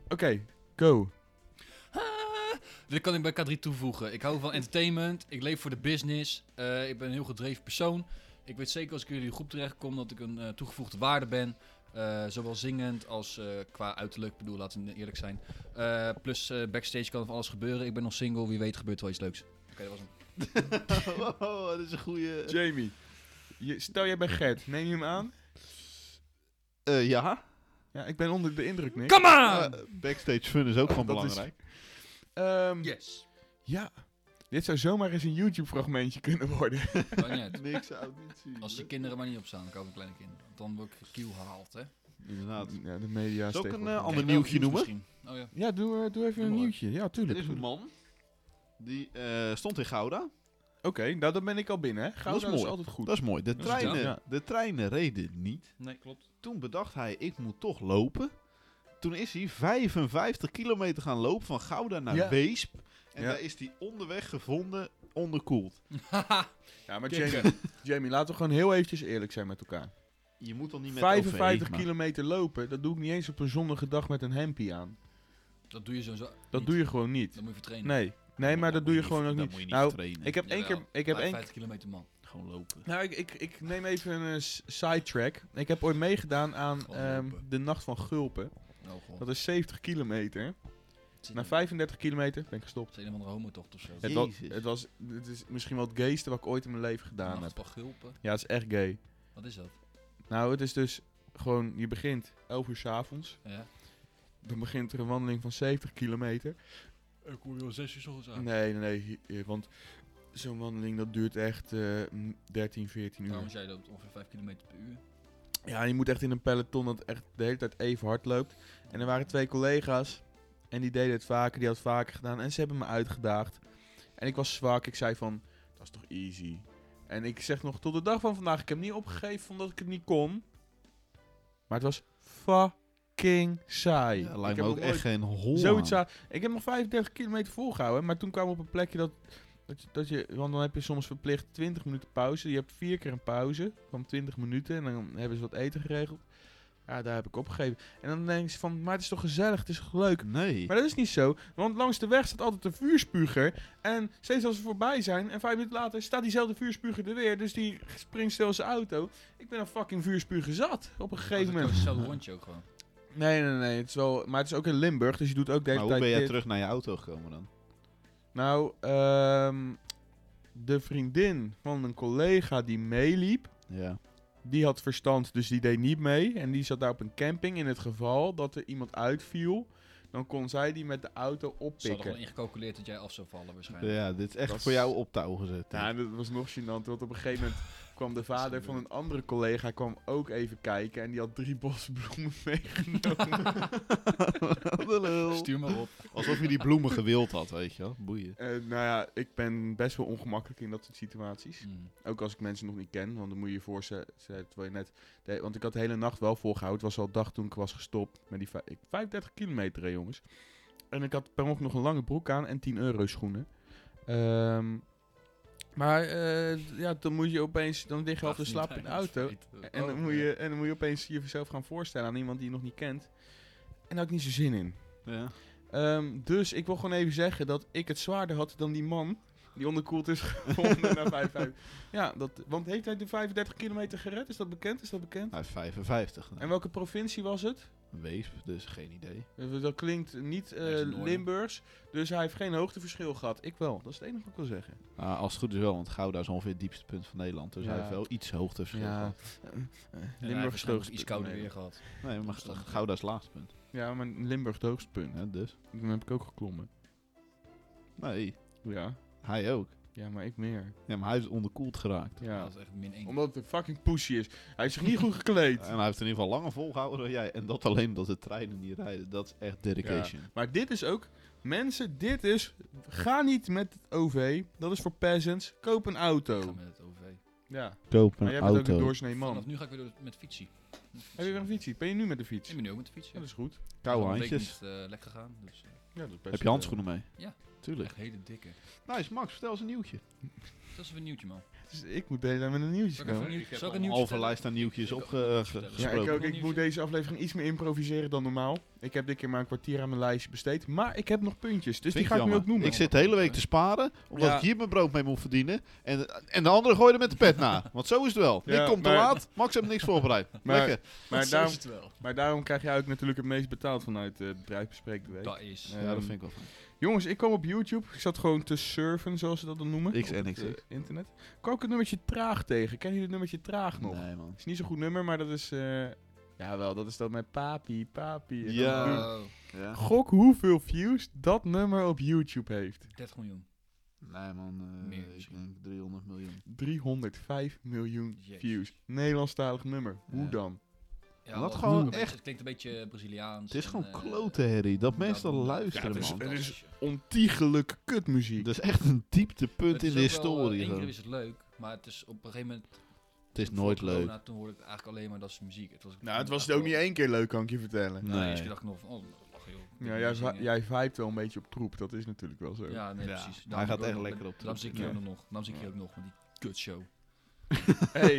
Oké, go.
Ah, Dit kan ik bij K3 toevoegen. Ik hou van entertainment. Ik leef voor de business. eh, ik ben een heel gedreven persoon. Ik weet zeker als ik in jullie groep terechtkom dat ik een eh, toegevoegde waarde ben. Eh, zowel zingend als eh, qua uiterlijk. Ik bedoel, laten we eerlijk zijn. Eh, plus eh, backstage kan van alles gebeuren. Ik ben nog single. Wie weet gebeurt er wel iets leuks. Oké, dat was hem.
oh, dat is een goede.
Jamie. Je, stel jij bent Gert. Neem je hem aan?
Eh, ja.
Ja, ik ben onder de indruk, Nick.
Come
Eh, backstage fun is ook gewoon
Dat is-
belangrijk.
Ehm,
Yes!
Ja. Dit zou zomaar eens een YouTube-fragmentje kunnen worden.
Maakt niet uit.
Niks uit, niet zien.
Als die kinderen maar niet opstaan, dan komen kleine kinderen. Dan word ik kiel gehaald, hè.
Inderdaad.
Ja, de media is
Zal ik een,
tegenwoordig-
eh, ander
Kijk, wel
nieuwtje
nieuws
noemen?
misschien. Oh ja.
Ja, doe, eh, doe even
Doe
een
maar.
nieuwtje. Ja,
Er
tuurlijk.
is een
Oké,
man. Die eh, stond in Gouda.
nou dan ben ik al binnen. hè. Gouda
Dat is mooi.
altijd goed.
Dat is mooi. De
Dat is het,
treinen,
ja.
de treinen reden niet.
Nee, klopt.
Toen bedacht hij, ik moet toch lopen. Toen is hij 55 kilometer gaan lopen van Gouda naar
Ja.
Weesp. En
Ja.
daar is hij onderweg gevonden, onderkoeld.
Ja, maar
Kikker.
Jamie, Jamie, laten we gewoon heel eventjes eerlijk zijn met elkaar.
Je moet dan niet met
55
OV, maar-
kilometer lopen, dat doe ik niet eens op een zonnige dag met een hempie aan.
Dat doe je sowieso
Dat
niet.
doe je gewoon niet.
Dan moet je vertrainen.
Nee, nee maar dat doe je
moet
gewoon ook
dan
niet.
moet je
Nou,
trainen.
Ik heb één keer...
Jawel.
Ik heb één
50 kilometer man.
Gewoon lopen.
Nou, ik, ik, ik neem even een eh, s- sidetrack. Ik heb ooit meegedaan aan
Gewoon
ehm,
lopen.
de Nacht van Gulpen.
Nou, gewoon.
Dat is 70 kilometer.
Het zit
Na
in-
35 kilometer ben ik gestopt.
Het is een of andere homotocht of zo.
Het was,
Jezus.
het was het is misschien wel het gayste wat ik ooit in mijn leven gedaan
Nacht
heb.
van Gulpen.
Ja, het is echt gay.
Wat is dat?
Nou, het is dus gewoon, je begint 11 uur 's avonds.
Ja.
Dan begint er een wandeling van 70 kilometer.
Ik kom wel zes uur ochtends
Nee, nee, nee. hi- eh, Want zo'n wandeling dat duurt echt eh, m, 13, 14 uur.
Trouwens, jij loopt ongeveer 5 kilometer per uur.
Ja, je moet echt in een peloton dat echt de hele tijd even hard loopt. En er waren twee collega's. En die deden het vaker, die had het vaker gedaan. En ze hebben me uitgedaagd. En ik was zwak. Ik zei van, dat is toch easy. En ik zeg nog tot de dag van vandaag, ik heb hem niet opgegeven omdat ik het niet kon. Maar het was fucking saai.
Ja,
ik
lijkt
heb
me ook
nog nooit
echt geen hol
Zoiets
aan.
aan. Ik heb nog 35 kilometer volgehouden, maar toen kwamen we op een plekje dat, dat, je- dat je... Want dan heb je soms verplicht 20 minuten pauze. Je hebt vier keer een pauze van 20 minuten en dan hebben ze wat eten geregeld. Ja, daar heb ik opgegeven. En dan denk je van, maar het is toch gezellig, het is toch leuk.
Nee.
Maar dat is niet zo, want langs de weg staat altijd een vuurspuger. En steeds als we voorbij zijn en vijf minuten later staat diezelfde vuurspuger er weer. Dus die springt stil zijn auto. Ik ben een fucking vuurspuger zat op
Oh,
een gegeven
Dat is
moment.
Hetzelfde rondje ook gewoon.
Nee, nee, nee. Het is wel, maar het is ook in Limburg, dus je doet ook de hele
Maar
tijd
hoe ben jij
dit.
terug naar je auto gekomen dan?
Nou, ehm, de vriendin van een collega die meeliep,
Ja.
die had verstand, dus die deed niet mee. En die zat daar op een camping. In het geval dat er iemand uitviel, dan kon zij die met de auto
Ze hadden gewoon
oppikken.
ingecalculeerd dat jij af zou vallen waarschijnlijk.
Ja, dit is echt
Dat is-
voor jou op touw gezet.
Ja, en dat was nog gênant, want op een gegeven moment kwam de vader van een andere collega kwam ook even kijken. En die had drie bosbloemen meegenomen.
Wat een lul.
Dus Stuur maar op.
Alsof je die bloemen gewild had, weet je wel. Boeien.
Eh, nou ja, ik ben best wel ongemakkelijk in dat soort situaties.
Mm.
Ook als ik mensen nog niet ken, want dan moet je je voorstellen, terwijl je net... Nee, want ik had de hele nacht wel volgehouden. Het was al dag toen ik was gestopt met die vij- ik- 35 kilometer, hè, jongens. En ik had per ongeluk nog een lange broek aan en 10 euro schoenen. Ehm, maar eh, ja, dan moet je opeens, dan lig je half te
Ach,
slapen in
niet,
de
hij is
auto.
vergeten.
En dan,
Oh,
moet
ja.
je, en dan moet je opeens jezelf gaan voorstellen aan iemand die je nog niet kent. En daar had ik niet zo zin in.
Ja.
Ehm, dus ik wil gewoon even zeggen dat ik het zwaarder had dan die man die onderkoeld is gevonden na 55. Ja, dat, want heeft hij de 35 kilometer gered? Is dat bekend? Is dat bekend?
Hij is 55.
En
Nou,
welke provincie was het?
Wees, dus geen idee.
Eh, Dat klinkt niet eh,
Ergens in het noorden.
Limburgs, dus hij heeft geen hoogteverschil gehad. Ik wel, dat is het enige wat ik wil zeggen.
Ah, als het goed is wel, want Gouda is ongeveer het diepste punt van Nederland. Dus
Ja.
hij heeft wel iets hoogteverschil.
Ja,
gehad.
eh,
En hij heeft
Limburg is het
waarschijnlijk
hoogste punt
iets kouder
in
weer
Nederland.
gehad.
Nee, maar Gouda is het laatste punt.
Ja, maar Limburg is het hoogste punt.
Ja, dus.
Dan heb ik ook geklommen.
Nee,
Ja,
hij ook.
ja maar ik meer.
Ja, maar hij is onderkoeld geraakt.
Ja.
Dat is echt min 1.
Omdat het fucking pushy is. Hij is zich niet goed gekleed.
En hij heeft in ieder geval langer volgehouden dan jij. En dat alleen omdat de treinen niet rijden. Dat is echt dedication.
Maar dit is ook, mensen, dit is, ga niet met het OV, dat is voor peasants, koop een
Ik ga
auto.
met het OV.
Ja.
Koop
Maar
een
jij bent ook
auto.
een doorsnee man.
Vanaf nu ga ik weer door met fietsen. Met fietsen.
Heb je weer een fietsie? Ben je nu met de fiets?
Ik ben nu ook met de fiets. ja.
Oh,
Ja, dat is goed.
Koude
Al een week
handjes.
niet, eh, lekker gegaan. Dus, eh,
Ja, dat is best,
Heb je handschoenen mee?
Ja.
Tuurlijk.
echt hele dikke.
eh, Nice, Max, vertel eens een nieuwtje.
Dat is even een nieuwtje, man.
eh, dus ik moet deze met een nieuwtje
Zal ik even
komen.
een nieuw-
Ik heb
zal ik een
al
nieuwtje
halve
vertellen?
lijst aan nieuwtjes eh,
Ik ook
opgesproken.
nieuwtjes
Ja, ik
Gesproken.
ook. Ik moet deze aflevering iets meer improviseren dan normaal. Ik heb dit keer maar een kwartier aan mijn lijstje besteed. Maar ik heb nog puntjes, dus die ga ik nu ook noemen.
Ik zit de hele week te sparen, omdat
Ja.
ik hier mijn brood mee moet verdienen. En, en de andere gooide met de pet na. Want zo is het wel.
Ja,
ik kom te
maar-
laat, Max heeft niks voorbereid.
Maar-
Lekker.
maar,
daar
daarom,
is het wel.
maar daarom krijg jij ook natuurlijk het meest betaald vanuit eh, het bedrijf bespreekt de week.
Dat is.
Ja.
Ja, dat vind ik wel fijn.
Jongens, ik kwam op YouTube. Ik zat gewoon te surfen, zoals ze dat dan noemen.
X
op
en
het,
X.
eh, internet. Kwam ik het nummertje traag tegen. Ken jullie het nummertje traag nog?
Nee, man.
Het is niet zo'n goed nummer, maar dat is... eh ja, wel, dat is dat met papi, papi. en
Ja.
dan-
Oh,
Ja.
Gok hoeveel views dat nummer op YouTube heeft.
30 miljoen.
Nee, man. eh,
Meer
ik
misschien.
denk 300 miljoen.
305 miljoen
Jezus.
views. Nederlandstalig nummer. Hoe
Ja.
dan?
Ja,
Wat
wel,
gewoon
het-
echt-
Het klinkt een beetje Braziliaans.
Het is
en,
gewoon
eh,
klote, Harry. Dat
ja,
mensen dat
ja,
luisteren,
het is-
man.
het is- Ontiegelijke kutmuziek.
Dat is echt een dieptepunt
Het is
in de
ook wel, eh,
historie.
één
gewoon.
keer is het leuk, maar het is op een gegeven moment.
Het is nooit
voor corona,
leuk.
Toen hoorde ik eigenlijk alleen maar dat is muziek. Het was,
Nou, het was het ook niet één keer leuk, kan ik je vertellen.
Nee.
Nee. Eerst dacht ik nog van, oh, lach joh. dit
Ja,
moet
jij,
je
vi-
zingen.
jij vibet wel een beetje op troep, dat is natuurlijk wel zo.
Ja, nee,
Ja,
precies.
hij
Daarom
gaat
doe ik
echt
ook-
lekker op terug.
Daarom zie ik je
Ja.
ook nog. Daarom zie ik je ook nog met die kutshow.
Hey,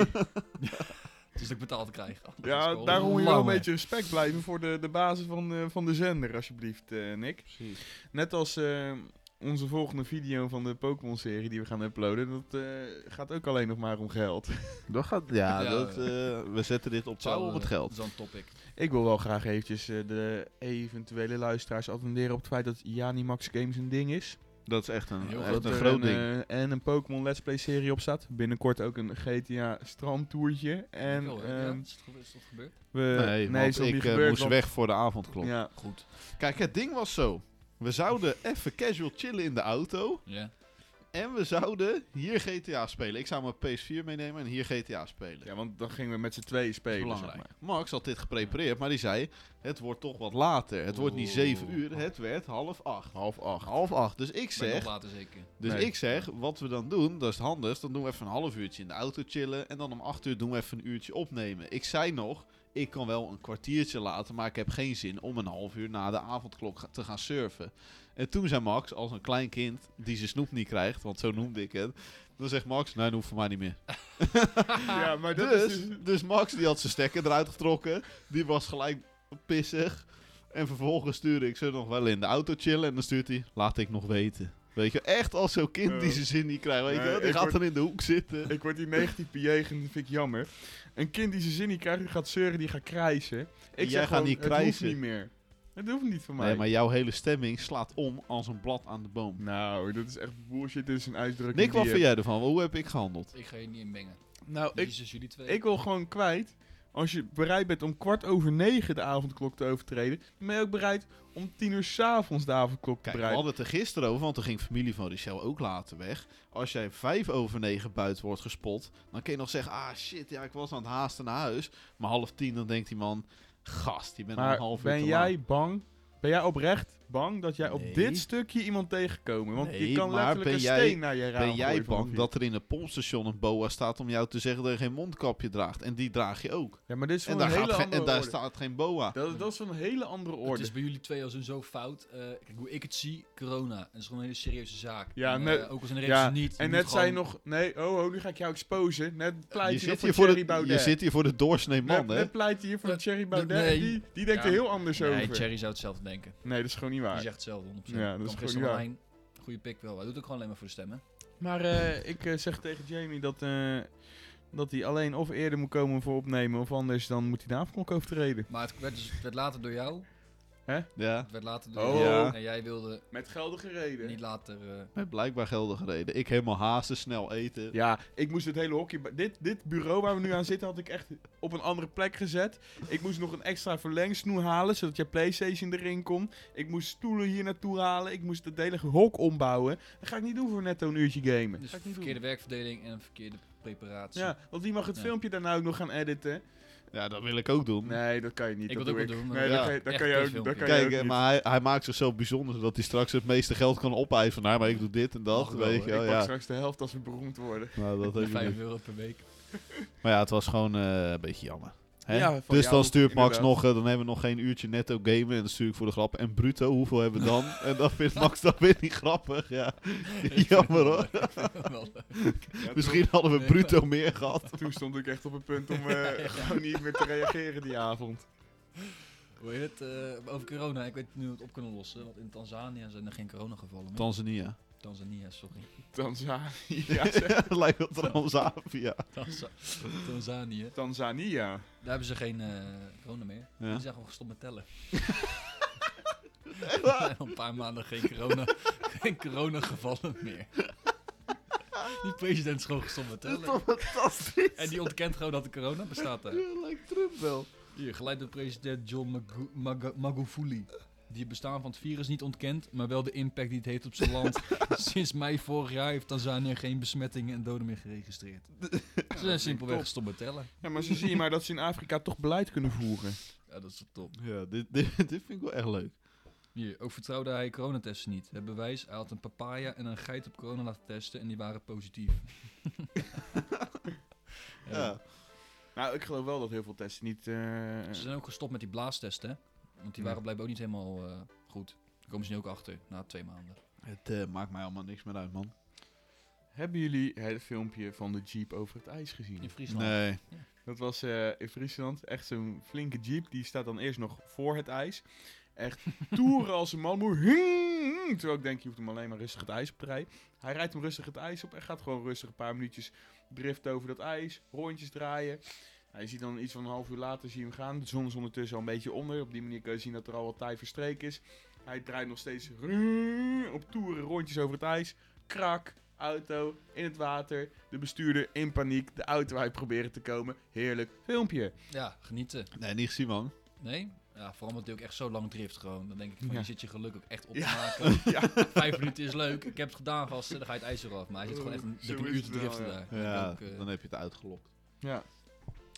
Dus dat ik betaald krijg. Anders is het
ja,
al
daarom moet je wel een
lang weg.
beetje respect blijven voor de, de basis van, eh, van de zender, alsjeblieft, eh, Nick.
Precies.
Net als eh, onze volgende video van de Pokémon-serie die we gaan uploaden, dat eh, gaat ook alleen nog maar om geld.
Dat gaat, ja,
Ja,
dat,
eh,
eh, we zetten dit op touw
Zou,
op het
eh,
geld.
Zo'n topic.
Ik wil wel graag eventjes eh, de eventuele luisteraars attenderen op het feit dat Janimax Games een ding is.
Dat is echt een,
Heel
echt
goed.
een
er
groot ding.
eh, en een Pokémon Let's Play serie op staat. Binnenkort ook een GTA strandtoertje. En
Wel, hè? Ja,
ehm,
is, het, ge- is dat gebeurd?
we...
nee,
is
want
nog
ik
niet
eh,
gebeurd,
moest
want-
weg voor de avondklok.
Ja,
Goed.
Kijk, het ding was zo. We zouden even casual chillen in de auto.
Ja.
En we zouden hier GTA spelen. Ik zou mijn PS4 meenemen en hier GTA spelen.
ja, want dan gingen we met z'n tweeën spelen.
Belangrijk.
zeg maar.
Max had dit geprepareerd, maar die zei... Het wordt toch wat later. Het wordt niet
Oeh.
7 uur, het werd half 8.
Half acht.
Half 8. Dus ik
Ben nog
zeg...
later zeker.
Dus
Nee.
ik zeg, wat we dan doen, dat is het handigst. Dan doen we even een half uurtje in de auto chillen. En dan om 8 uur doen we even een uurtje opnemen. Ik zei nog, ik kan wel een kwartiertje laten. Maar ik heb geen zin om een half uur na de avondklok ga- te gaan surfen. En toen zei Max, als een klein kind die zijn snoep niet krijgt. Want zo noemde ik het. Dan zegt Max, nee, dat hoeft voor mij niet meer.
Ja, maar dat
Dus,
is dus...
dus Max die had zijn stekker eruit getrokken. Die was gelijk pissig. En vervolgens stuurde ik ze nog wel in de auto chillen. En dan stuurt hij, laat ik nog weten. Weet je, echt als zo'n kind die
Eh,
zijn zin niet krijgt. Weet je,
nee,
wel, die
ik
gaat
word-
dan in de hoek zitten.
dus- Ik word hier negatief bejegend, dat vind ik jammer. Een kind die zijn zin niet krijgt, die gaat zeuren, die gaat krijsen. Ik
Jij
zeg
gaat
gewoon,
niet
het hoeft
krijsen.
niet meer. Het hoeft niet van mij.
Nee, maar jouw hele stemming slaat om als een blad aan de boom.
Nou, dat is echt bullshit, dit is een uitdrukking
Nick, wat
die,
vind jij ervan? Hoe heb ik gehandeld?
Ik ga je niet in mengen.
eh, Nou,
Dit
ik,
is dus jullie twee.
ik wil gewoon kwijt, als je bereid bent om kwart over negen de avondklok te overtreden, dan ben je ook bereid om tien uur s'avonds de avondklok te
Kijk, we
bereiken.
hadden het er gisteren over, want toen ging familie van Richel ook later weg. Als jij vijf over negen buiten wordt gespot, dan kun je nog zeggen, ah shit, ja, ik was aan het haasten naar huis. Maar half tien, dan denkt die man, gast, je bent al een
Maar
half uur
ben
te
jij
laat.
bang, ben jij oprecht bang dat jij
Nee.
op dit stukje iemand tegenkomen? Want
Nee,
je kan
maar
letterlijk
ben
een
jij-
steen naar je raam
Ben jij
gooien van een
bang
fiets.
dat er in een pompstation een boa staat om jou te zeggen dat je geen mondkapje draagt? En die draag je ook.
Ja, maar dit is
En
van een
daar, gaat
hele
ge-
andere
en daar
orde.
staat geen boa.
Dat, dat is van een hele andere
het
orde.
is bij jullie twee al zo'n zo fout. Eh, kijk, hoe ik het zie, corona. Dat is gewoon een hele serieuze zaak.
Ja,
En, eh,
net-
ook als een
ja,
reden niet. je
en
moet
net zei je
gewoon-
nog, nee, oh, oh, nu ga ik jou exposen. Net pleit
Je
je, nog
zit,
voor
hier voor
Thierry
de,
Baudet.
je zit hier voor de doorsnee man,
net,
hè?
net pleit hij hier voor
Dat-
Thierry
dat-
Baudet.
nee.
Die, die denkt
Ja.
er heel anders
Nee,
over.
Thierry zou hetzelfde denken.
Nee, dat is gewoon niet
Die
waar.
zegt hetzelfde, 100%.
Ja, dat
Kwam
is gewoon
gisteren
niet waar.
online. Goeie pick wel. Hij doet ook gewoon alleen maar voor de stemmen.
Maar eh, ik eh, zeg tegen Jamie dat, eh, dat hij alleen of eerder moet komen voor opnemen... of anders dan moet hij de avondklok overtreden.
Maar het werd, dus, het werd later door jou.
Ja,
Het werd later door
Oh.
jou.
Ja.
En jij wilde
Met geldige reden.
niet later... eh,
met blijkbaar geldig gereden. Ik helemaal haasten, snel eten.
Ja, ik moest het hele hokje... ba- Dit, dit bureau waar we nu aan zitten had ik echt op een andere plek gezet. Ik moest nog een extra verlengsnoer halen, zodat je Playstation erin kon. Ik moest stoelen hier naartoe halen. Ik moest het hele hok ombouwen. Dat ga ik niet doen voor netto een uurtje gamen.
dus
ga ik niet
verkeerde werkverdeling en verkeerde preparatie.
doen. Ja, want wie mag het
Ja.
filmpje daarna ook nog gaan editen?
Ja, dat wil ik ook doen.
Nee, dat kan je niet.
Ik
dat
wil
doe
het ook wel doen,
Nee,
maar
dat
ja,
kan je- dat
echt
kan je
geen
ook dat
filmpje.
kan je
Kijk,
ook
eh,
niet.
maar hij, hij maakt zichzelf bijzonder zodat hij straks het meeste geld kan opeisen naar. Maar ik doe dit en dat.
Mag wel,
weet
hoor.
je,
Ik
wel,
pak
ja.
straks de helft als we beroemd worden.
Nou, dat heb ik
5
niet.
euro per week.
Maar ja, het was gewoon eh, een beetje jammer. Hè?
Ja, van
dus
jou,
dan stuurt Max
inderdaad.
nog, eh, dan hebben we nog geen uurtje netto gamen. En dan stuur ik voor de grap. En bruto, hoeveel hebben we dan? en dan vindt Max dat weer niet grappig. Ja. Jammer hoor.
Ja,
Misschien hadden we
Nee,
bruto meer gehad.
Toen, toen stond ik echt op het punt om eh, gewoon niet meer te reageren die avond.
Hoe heet het? eh, over corona, ik weet nu hoe we het op kunnen lossen. Want in Tanzania zijn er geen coronagevallen meer.
Tanzania.
Tanzania, sorry.
Tanzania. zeg.
Het lijkt wel Transavia.
Tanza- Tanzania.
Tanzania.
Daar hebben ze geen eh, corona meer.
Ja.
Die zijn gewoon gestopt met tellen. Al een paar maanden geen corona, geen corona gevallen meer. Die president is gewoon gestopt met
Dat is
tellen.
toch fantastisch?
En die ontkent gewoon dat de corona bestaat daar.
Ja, lijkt Trump wel.
Hier, geleid door president John Magu- Maga- Magufuli. Die het bestaan van het virus niet ontkent, maar wel de impact die het heeft op zijn land. Sinds mei vorig jaar heeft Tanzania geen besmettingen en doden meer geregistreerd. Ze zijn simpelweg
top.
gestopt met tellen.
Ja, maar ze zien maar dat ze in Afrika toch beleid kunnen voeren.
Ja, dat is toch top.
Ja, dit, dit, dit vind ik wel echt leuk.
Hier, ook vertrouwde hij coronatesten niet. Het bewijs, hij had een papaya en een geit op corona laten testen en die waren positief.
Ja.
Ja.
Nou, ik geloof wel dat heel veel testen niet... eh,
Ze zijn ook gestopt met die blaastesten, hè? Want die
Ja.
waren blijkbaar ook niet helemaal eh, goed. Daar komen ze nu ook achter, na twee maanden.
Het eh, maakt mij allemaal niks meer uit, man.
Hebben jullie het filmpje van de jeep over het ijs gezien?
In Friesland.
Nee.
Dat was eh, in Friesland. Echt zo'n flinke jeep. Die staat dan eerst nog voor het ijs. Echt toeren als een man. Moe- Hing! Terwijl ik denk, je hoeft hem alleen maar rustig het ijs op te rijden. Hij rijdt hem rustig het ijs op en gaat gewoon rustig een paar minuutjes driften over dat ijs. Rondjes draaien. Nou, je ziet dan iets van een half uur later zie je hem gaan. De zon is ondertussen al een beetje onder. Op die manier kun je zien dat er al wat tijd verstreken is. Hij draait nog steeds ruuuuuh op toeren rondjes over het ijs. Krak, auto, in het water. De bestuurder in paniek, de auto uit proberen te komen. Heerlijk filmpje.
Ja, genieten.
Nee, niet gezien, man.
Nee? Ja, vooral omdat hij ook echt zo lang drift gewoon. Dan denk ik van,
Ja.
je zit je geluk ook echt op te
Ja.
maken.
Ja.
Vijf minuten is leuk, ik heb het gedaan gasten, dan ga je het ijs eraf. Maar hij zit gewoon echt een,
Zo
dikke
is
uur
het
te
wel,
driften
ja.
daar.
Ja,
Ik denk ook, eh,
dan heb je het uitgelokt.
Ja.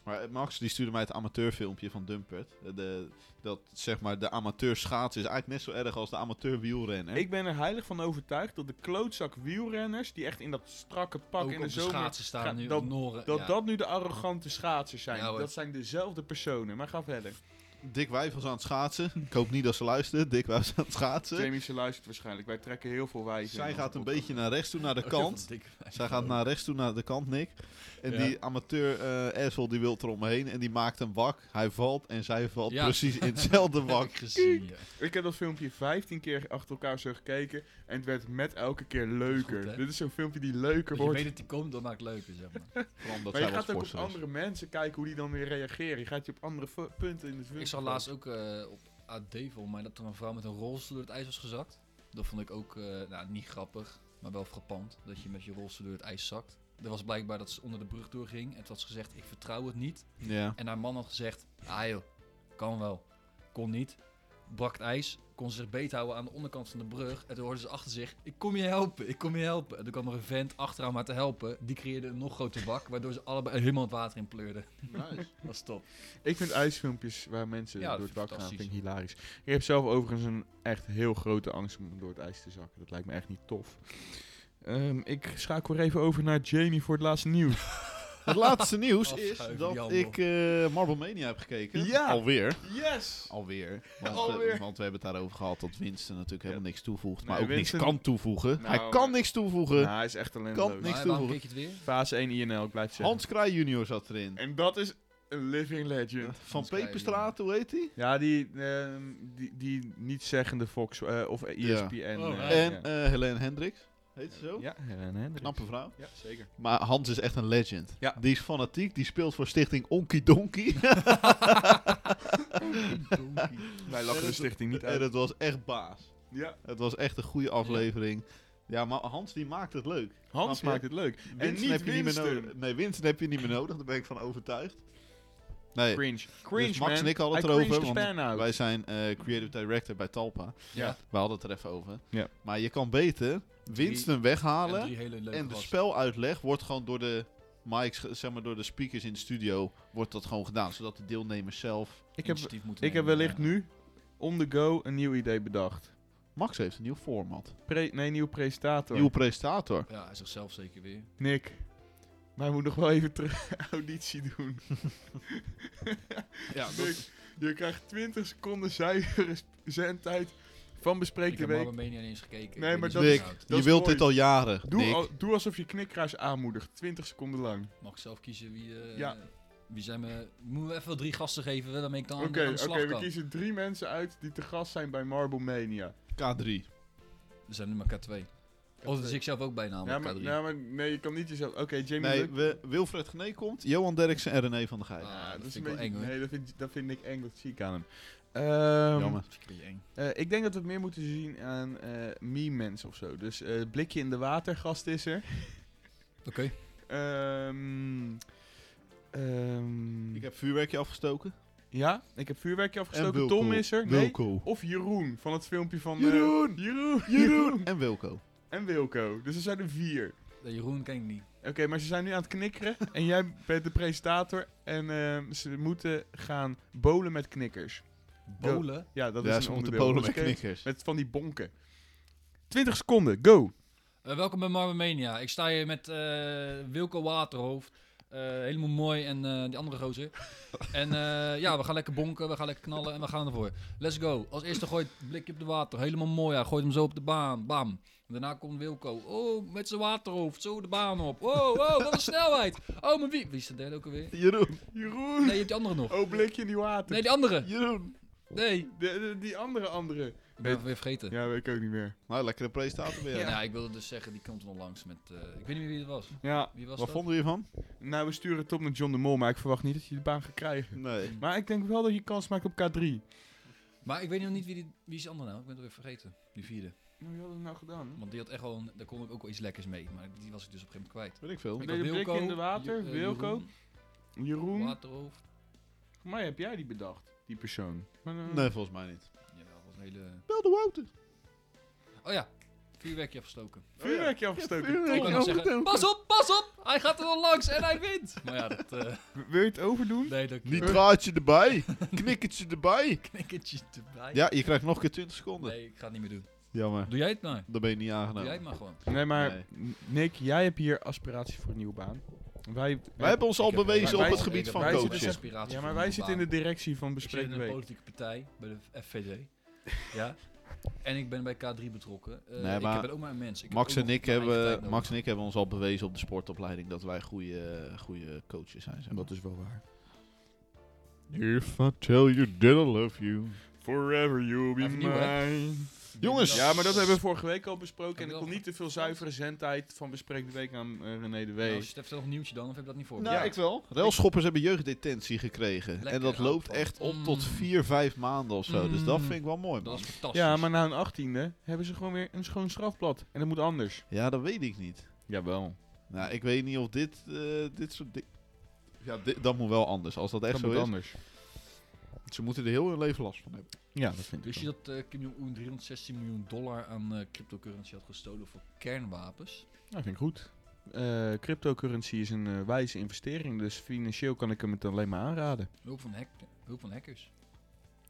Maar eh, Max die stuurde mij het amateurfilmpje van Dumpert. Eh, De, dat zeg maar de amateur schaatsen is eigenlijk net zo erg als de amateur wielrennen.
Ik ben er heilig van overtuigd dat de klootzak wielrenners, die echt in dat strakke pak
ook
in
op
de
de
zomer...
schaatsen
ga-
staan nu,
dat-
op Noren.
dat
ja. Nou,
dat nu de arrogante schaatsers zijn.
Ja, hoor.
dat zijn dezelfde personen. Maar ga verder.
Dick Wijf was aan het schaatsen. Ik hoop niet dat ze luistert. Dick Wijf was aan het schaatsen.
Jamie, ze luistert waarschijnlijk. Wij trekken heel veel wijzen.
Zij gaat een
Ook wel.
beetje naar rechts toe, naar de
Ook Oh, heel
kant.
veel dikke wijven.
Zij gaat naar rechts toe, naar de kant, Nick. En
Ja.
die amateur eh asshole die wil er omheen en die maakt een wak. Hij valt en zij valt
Ja.
precies in hetzelfde
Heb
wak.
ik gezien, ja.
Ik heb dat filmpje 15 keer achter elkaar zo gekeken. En het werd met elke keer
Dat
leuker.
is goed, hè?
Dit is zo'n filmpje die leuker
Als je
wordt.
weet dat die komt, dan maakt het leuker, zeg maar.
Vooral omdat
maar je
zij wat
gaat ook op
sporter is.
andere mensen kijken hoe die dan weer reageren. Je gaat je op andere fu- punten in het filmpje.
ik zag laatst ook eh, op AD volgens mij dat er een vrouw met een rolstoel door het ijs was gezakt. Dat vond ik ook, eh, nou, niet grappig, maar wel frappant. Dat je met je rolstoel door het ijs zakt. Er was blijkbaar dat ze onder de brug doorging. En het was gezegd, ik vertrouw het niet.
Ja.
En haar man had gezegd, ah joh, kan wel. Kon niet. Brak het ijs, kon ze zich beet houden aan de onderkant van de brug. En toen hoorden ze achter zich, ik kom je helpen, ik kom je helpen. En toen kwam nog een vent achteraan maar te helpen. Die creëerde een nog groter bak, waardoor ze allebei helemaal het water in pleurden. Dat is top.
Ik vind ijsfilmpjes waar mensen
Ja, dat
door het
vind
dak
ik
gaan, vind ik
fantastisch.
hilarisch. Ik heb zelf overigens een echt heel grote angst om door het ijs te zakken. Dat lijkt me echt niet tof. Ehm, ik schakel weer even over naar Jamie voor het laatste nieuws.
Het laatste nieuws is
Afschuiven, die
dat
handel.
ik eh Marble Mania heb gekeken.
Ja.
Alweer.
Yes!
Alweer. Want, eh,
Alweer.
want we hebben het daarover gehad dat Winston natuurlijk helemaal niks toevoegt.
Nee,
maar ook
Winston-
niks kan toevoegen.
Nou,
hij kan
maar-
niks toevoegen.
Nou, hij is echt
Kan
talentloos.
niks.
Maar
te
waarom
horen.
keek je het weer?
Fase 1 INL, ik blijf het zeggen.
Hans Kraai junior zat erin.
En dat is een living legend.
Van
Hans Kraai
Peperstraat, hoe heet hij?
Ja, die, ehm, die, die niet zeggende Fox eh, of ESPN.
Oh,
eh,
ja.
En
ja.
eh, Helene Hendricks. Heet ze zo?
ja, Helene Hendricks.
Knappe vrouw.
Ja, zeker.
Maar Hans is echt een legend.
Ja.
Die is fanatiek. Die speelt voor stichting Onky Donky.
Wij lachen de stichting niet
en
uit.
het was echt baas.
Ja.
Het was echt een goede aflevering. Ja, maar Hans die maakt het leuk.
Hans
Snap je?
maakt het leuk.
Winston
niet
heb je niet meer
Winston.
nodig. Nee, Winston heb je niet meer nodig. Daar ben ik van overtuigd. Nee,
Cringe. Cringe,
dus Max
man.
en ik hadden het
Hij
erover.
cringed de
Want
span out.
wij zijn eh, creative director bij Talpa.
Ja.
We hadden het er even over.
Ja.
Maar je kan beter Winston
En
weghalen.
drie hele
En,
leuke
de
gasten.
speluitleg wordt gewoon door de mics, ge- zeg maar door de speakers in de studio, wordt dat gewoon gedaan. Zodat de deelnemers zelf...
Ik heb,
initiatief moeten
ik heb
nemen,
wellicht
ja.
nu, on the go, een nieuw idee bedacht.
Max heeft een nieuw format.
Pre nee, nieuw presentator.
Nieuwe presentator.
Ja, hij is zichzelf zeker weer.
Nick, wij moeten nog wel even terug auditie doen.
Ja,
Nick, je krijgt 20 seconden zuivere sp- zendtijd van
ik
Bespreek de
heb
Week.
Marmenia niet eens gekeken. Ik
Nee,
weet
maar
niet
dat
hoe
is-
het inhoudt.
Dat
je
is
wilt
mooi.
dit al jaren,
Doe,
Nick.
al- doe alsof je knikkruis aanmoedigt, 20 seconden lang.
Mag ik zelf kiezen wie... eh,
Ja.
Wie zijn we... Moeten we even wel drie gasten geven, waarmee ik dan
Oké,
aan de- aan de
oké,
slag
we
kan.
kiezen drie mensen uit die te gast zijn bij Marble Mania.
K3.
Er zijn nu maar K2. Oh, dat is ik zelf ook bijna
Ja,
aan
maar,
K3.
ja, maar nee, je kan niet jezelf... Oké, Jamie
Nee,
Luk-
we, Wilfred Gené komt, Johan Derksen en René van der Gijp.
Ah,
Ja,
dat
dat, is een
vind ik
beetje...
wel eng, hoor.
nee, dat vind, dat vind ik eng, dat zie ik aan hem. Ehm,
Jammer.
Dat vind ik eng.
eh, ik denk dat we het meer moeten zien aan eh meme mensen of zo. Dus eh, blikje in de watergast is er.
Oké.
Ehm, ehm,
Ik heb vuurwerkje afgestoken.
Ja, ik heb vuurwerkje
En
afgestoken.
Wilco.
Tom is er. Nee. Oh,
Wilco.
Of Jeroen van het filmpje van... eh,
Jeroen!
Jeroen!
Jeroen! En Wilco.
En Wilco. Dus er zijn er vier.
Nee, Jeroen ken ik niet.
Oké, maar ze zijn nu aan het knikkeren en jij bent de presentator en ehm, ze moeten gaan bolen met knikkers. Go.
Bolen?
Ja, dat
ja,
is
ze
een
moeten
onderdeel.
polen met
Dat is oké.
knikkers.
Met van die bonken. 20 seconden, go!
Eh, welkom bij Marmenia. Ik sta hier met eh, Wilco Waterhoofd. Eh, helemaal mooi en eh, die andere gozer. en eh, ja, we gaan lekker bonken, we gaan lekker knallen en we gaan ervoor. Let's go. Als eerste gooit het blikje op de water. Helemaal mooi. Hij gooit hem zo op de baan. Bam. En daarna komt Wilco. Oh, met zijn waterhoofd. Zo de baan op. Wow, wow, wat een snelheid. Oh, maar wie? Wie is de derde ook alweer?
Jeroen.
Jeroen!
Nee, je hebt die andere nog.
Oh, blikje in die water.
Nee, die andere.
Jeroen.
Nee.
De- de- die andere, andere.
Ik ben het weer vergeten. Ja.
Ja, weet ik ook niet meer.
Nou, lekkere presentator weer.
Nou, ik wilde dus zeggen, die komt er nog langs met... eh, ik weet niet meer wie het was.
Ja,
Wie was
Wat
dat?
vonden we hiervan?
nou we sturen het op naar John de Mol, maar ik verwacht niet dat je de baan gaat krijgen.
Nee.
Maar ik denk wel dat je kans maakt op K3.
Maar ik weet nog niet wie, die, wie is die andere nou. Ik ben het weer vergeten. Die vierde.
Nou, wie had het nou gedaan?
Want die had echt wel... Een, daar kon ik ook wel iets lekkers mee. Maar die was ik dus op een gegeven moment kwijt.
Weet ik veel.
Ik
Ik
deed
had
een blik
Wilco,
in de water,
eh,
Wilco,
Jeroen,
Jeroen,
Waterhoofd.
voor mij heb jij die bedacht, die persoon. Maar, eh,
Nee, volgens mij niet.
Jawel, dat was een hele...
Bel de Wouter.
Oh ja, vuurwerkje afgestoken.
Vuurwerkje afgestoken.
Ik wou nog zeggen, pas op, pas op! Hij gaat er wel langs en hij wint! Maar ja, dat... eh,
Wil je het overdoen?
nee, dat...
Nitraatje erbij. Knikkertje erbij.
Knikkertje erbij.
Ja, je krijgt nog een keer 20 seconden.
Nee, ik ga het niet meer doen.
Jammer.
Doe jij het maar.
Dan ben je niet
Doe jij
aangenomen.
het maar gewoon.
Nee, maar
Nee.
N- Nick, jij hebt hier aspiratie voor een nieuwe baan. Wij,
Wij hebben ons al
Ik heb-
bewezen
wij-
op het
wij-
gebied
ik
van
heb-
wij zitten
coachen.
zeg- ja, maar wij zitten in de directie van
Ik zit
Bespreek
in
de
een
Week.
politieke partij, bij de FVD. ja. En ik ben bij K3 betrokken. Eh,
Nee, maar
ik ben ook maar een mens. Ik heb
Max
ook
en,
nog
ik
mijn eigen tijd
hebben,
nodig.
Max en ik hebben ons al bewezen op de sportopleiding dat wij goede, goede coaches zijn. Zeg maar.
is wel waar.
If I tell you that I love you.
Forever you'll be
Even nieuw, hè?
mine.
Dus
Jongens!
Ja, maar dat hebben we vorige week al besproken. En
Heb
ik
je
kon
al-
niet te veel zuivere zendtijd van Bespreek de Week aan eh, René de
Nou,
Wees.
Stef, vertel nog een nieuwtje dan, of heb je dat niet voor?
Nou,
Ja.
ik wel. Railschoppers hebben jeugddetentie gekregen.
Lekker
en dat loopt
aanpak.
echt op
Mm.
tot 4, 5 maanden of zo. Dus dat
Mm.
vind ik wel mooi.
Dat
Man.
is fantastisch.
Ja, maar na een achttiende hebben ze gewoon weer een schoon strafblad. En dat moet anders.
Ja, dat weet ik niet.
Jawel.
Nou, ik weet niet of dit, eh, dit soort dingen. Ja, dit- dat moet wel anders. Als dat echt
Dat
zo
moet
is.
anders.
Ze moeten er heel hun leven last van hebben.
Ja, dat vind ik
Wist je dat eh, Kim Jong-un 316 miljoen dollar aan eh, cryptocurrency had gestolen voor kernwapens?
Nou, vind ik goed. Eh, cryptocurrency is een eh, wijze investering, dus financieel kan ik hem het alleen maar aanraden.
Hulp van, hack hulp van hackers.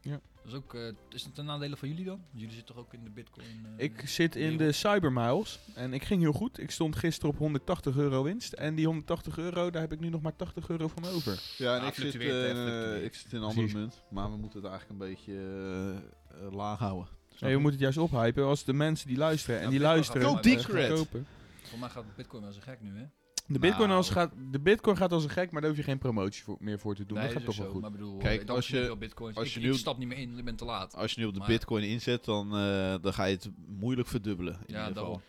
Ja.
Dat is, ook, eh, is het ten nadele van jullie dan? Jullie zitten toch ook in de bitcoin? eh,
Ik zit in de Cybermiles en ik ging heel goed. Ik stond gisteren op 180 euro winst en die 180 euro, daar heb ik nu nog maar 80 euro van over.
Ja, en
Ja,
ik, zit,
fluctueert,
eh,
hè,
in, eh,
fluctueert.
ik zit in een andere
Precies.
munt. Maar we moeten het eigenlijk een beetje eh, eh, laag houden. Snap
Nee,
je?
we moeten het juist ophypen als de mensen die luisteren en
Ja,
die
Bitcoin
luisteren
gaat
Go deep
eh, gaan
red.
kopen.
Voor mij gaat bitcoin wel zo gek nu, hè?
De bitcoin,
Nou.
als gaat, de bitcoin gaat als een gek, maar daar hoef je geen promotie voor, meer voor te doen. dat
is
gaat
ook
toch wel
zo,
goed.
Maar bedoel,
Kijk,
eh, dan
als
zie
je-
wel bitcoins.
als
ik,
je
ik
nu-
stap niet meer in, ik ben te laat.
Als je nu op de
Maar-
bitcoin inzet, dan, eh, dan ga je het moeilijk verdubbelen. In ieder
Ja,
geval.
daarom.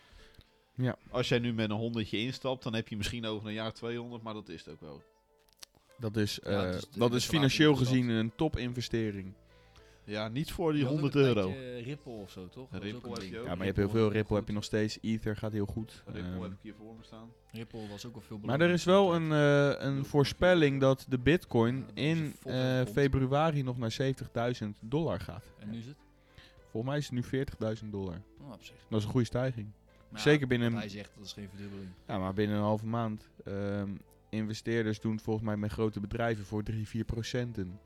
Ja.
Als jij nu met een honderdje instapt, dan heb je misschien over een jaar 200, maar dat is het ook wel.
Dat is, eh,
Ja, het is de-
dat
de
is
verlaging
financieel
van de
gezien een topinvestering.
Ja, niet voor die
Je had ook
100
een
euro.
tijdje eh, Ripple of zo, toch?
Ja,
Dat was
Ripple
ook
heb
een
je
ding.
ook.
Ja, maar je hebt heel
Ripple
veel.
was
Ripple heb
goed.
je nog steeds. Ether gaat heel goed.
Ripple
Ehm,
heb ik hier voor me staan.
Ripple was ook al veel
Maar er is wel een, eh, een voorspelling dat de
Ja,
bitcoin
dat is
in
een volgende
eh,
grond.
februari nog naar 70.000 dollar gaat.
En nu is het?
Volgens mij is het nu 40.000 dollar.
Nou, op zich.
Dat is een goede stijging.
Maar
Zeker
ja,
binnen-
wat Hij zegt dat is geen verdubbeling.
Ja, maar binnen een halve maand ehm, investeerders doen het volgens mij met grote bedrijven voor 3, 4 procenten.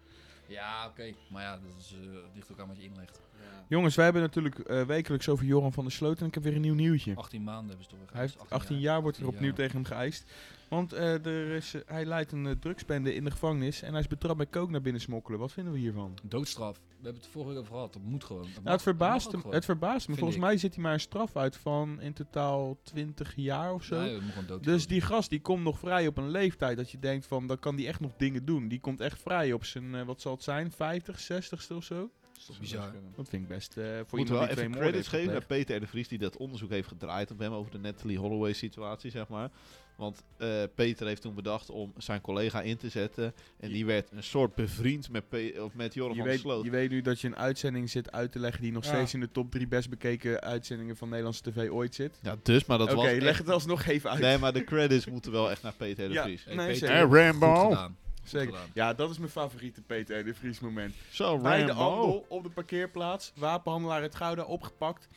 Ja, oké. Maar ja, dat is, eh, ligt ook aan wat je inlegt.
Jongens, wij hebben natuurlijk eh, wekelijks over Joran van der Sloot en ik heb weer een nieuw nieuwtje.
18 maanden hebben ze toch weer
Hij heeft
geëist,
18 jaar, wordt er
18
opnieuw
jaar.
tegen hem geëist. Want eh, er is, eh, hij leidt een eh, drugsbende in de gevangenis en hij is betrapt bij kook naar binnen smokkelen. Wat vinden we hiervan?
Doodstraf. We hebben het vorige keer over gehad. Dat moet gewoon. Dat mag-
Nou, het, verbaast
dat
hem,
mag ook
het verbaast me.
Vind
Volgens
ik.
mij zit hij maar een straf uit van in totaal 20 jaar of zo.
gewoon. Nee, dat moet gewoon dood.
Dus die gast die komt nog vrij op een leeftijd dat je denkt van, dan kan die echt nog dingen doen. Die komt echt vrij op zijn, eh, wat zal het zijn, 50, 60ste of zo.
Dat is toch bizar.
Dat vind ik best eh, voor
Moet
iemand
wel
die twee
even
moorden
credits
heeft
geven aan
gepleegd.
Peter R. de Vries die dat onderzoek heeft gedraaid op hem over de Natalie Holloway situatie, zeg maar. Want eh, Peter heeft toen bedacht om zijn collega in te zetten. En die werd een soort bevriend met, Pe- of met Joram
Je
van der
weet,
Sloot.
je weet nu dat je een uitzending zit uit te leggen die nog
Ja.
steeds in de top 3 best bekeken uitzendingen van Nederlandse tv ooit zit.
Ja, dus, maar dat
Oké,
was echt-
leg het alsnog even uit.
Nee, maar de credits moeten wel echt naar Peter R. de
Ja.
Vries.
Hey,
Nee,
Peter,
zeker.
goed
Rambo.
gedaan. Goed
Zeker.
gedaan.
Ja, dat is mijn favoriete Peter R. de Vries moment.
Zo,
Bij de
Rambo.
handel op de parkeerplaats. Wapenhandelaar uit Gouda opgepakt.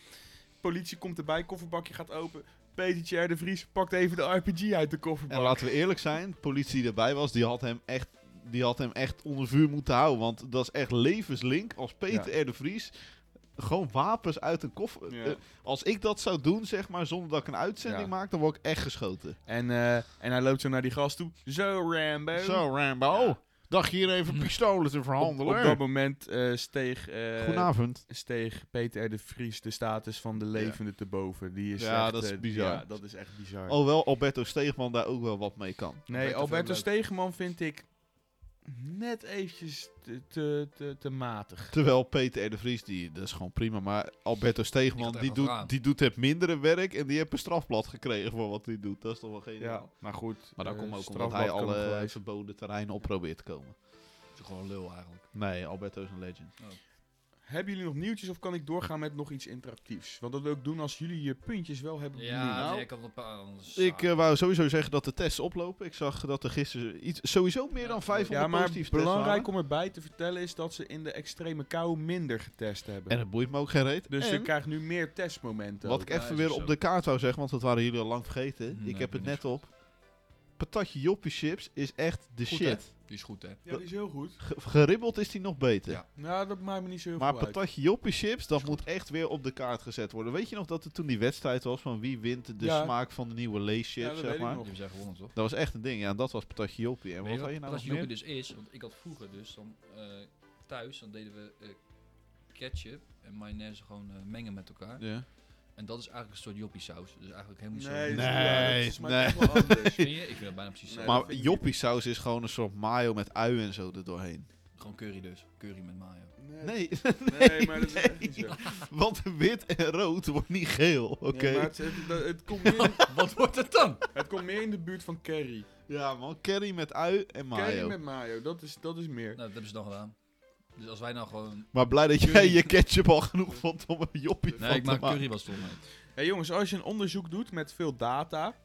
Politie komt erbij, kofferbakje gaat open. Peter R. de Vries pakt even de RPG uit de
En
kofferbak.
laten we eerlijk zijn, de politie die erbij was, die had hem echt... Die had hem echt onder vuur moeten houden. Want dat is echt levenslink. Als Peter R. de Vries gewoon wapens uit een koffer...
Ja.
eh, als ik dat zou doen, zeg maar, zonder dat ik een uitzending
Ja.
maak, dan word ik echt geschoten.
En, eh, en hij loopt zo naar die gast toe. Zo, Rambo.
Zo, Rambo.
Ja.
Dacht je hier even pistolen te
Op,
verhandelen?
op dat moment eh, steeg, eh,
Goedenavond.
steeg Peter R. de Vries de status van de levende te boven. Die is
Ja,
echt,
dat is
eh,
bizar. Oh,
Ja, dat is echt bizar.
Alhoewel Alberto Steegman daar ook wel wat mee kan.
nee,
Alberto
Alberto
Vermeulen.
Stegeman vind ik net eventjes te, te, te, te matig.
Eh, Terwijl Peter R. de Vries, die, dat is gewoon prima. Maar Alberto Steegman,
Die gaat er
die,
echt wel
doet,
vooraan.
die doet het mindere werk. En die heeft een strafblad gekregen voor wat hij doet. Dat is toch wel geniaal.
Ja, maar goed.
Maar dat
eh,
komt ook omdat
strafblad
hij
kan hem
alle
gewijzigd
verboden terreinen op probeert te komen.
Het is gewoon lul eigenlijk.
Nee, Alberto is een legend.
Hebben jullie nog nieuwtjes of kan ik doorgaan met nog iets interactiefs? Want dat wil ik doen als jullie je puntjes wel hebben benoemd. Nou,
Ja, nou, ik had een paar anders.
Ik eh, wou sowieso zeggen dat de tests oplopen. Ik zag dat er gisteren iets, sowieso meer dan
Ja,
500
Ja, maar
positieve tests
belangrijk
waren.
om erbij te vertellen is dat ze in de extreme kou minder getest hebben.
En het boeit me ook geen reet.
dus
En
je krijgt nu meer testmomenten.
wat
ook.
ik even
Ja, is
weer
ook
op
zo.
de kaart wou zeggen, want dat waren jullie al lang vergeten.
Nee,
ik heb het
ben
net op. Patatje Joppie Chips is echt de
Goed,
shit.
Die is goed, hè?
Ja, die is heel goed.
Ge- Geribbeld is die nog beter.
Ja.
Nou, dat maakt me niet zo heel
Maar
veel uit.
patatje Joppie Chips, dat moet echt weer op de kaart gezet worden. Weet je nog dat er toen die wedstrijd was van wie wint de
Ja.
smaak van de nieuwe
Ja,
leeschips,
dat weet
zeg
ik
maar?
nog.
Die zijn gewonnen, toch?
Dat was echt een ding, ja. En dat was patatje Joppie. En wat
Weet je
had
wat
je nou nog
patatje
meer?
joppie dus is? Want ik had vroeger dus dan eh, thuis, dan deden we eh, ketchup en mayonaise gewoon eh, mengen met elkaar.
Ja.
En dat is eigenlijk een soort joppie saus. Dus eigenlijk helemaal niet
Nee,
zo...
Nee.
ja, dat is maar toch wel anders.
Vind je? Ik vind dat bijna precies
Nee.
zo.
dat
Maar
vind ik
joppie saus is gewoon een soort mayo met ui en zo erdoorheen.
Gewoon curry dus. Curry met mayo.
Nee,
nee, maar dat is echt niet zo.
want wit en rood wordt niet geel, oké?
Nee, maar het, het, het, het komt meer,
Wat wordt het dan?
het komt meer in de buurt van curry.
Ja man, curry met ui en mayo.
Curry met mayo, dat is, dat is meer.
Nou, dat hebben ze dan gedaan. Dus als wij nou gewoon...
Maar blij dat jij
Curry.
je ketchup al genoeg vond om een joppie
Nee,
van
ik
te
maak
maken.
curry was toch mee.
Hey jongens, als je een onderzoek doet met veel data,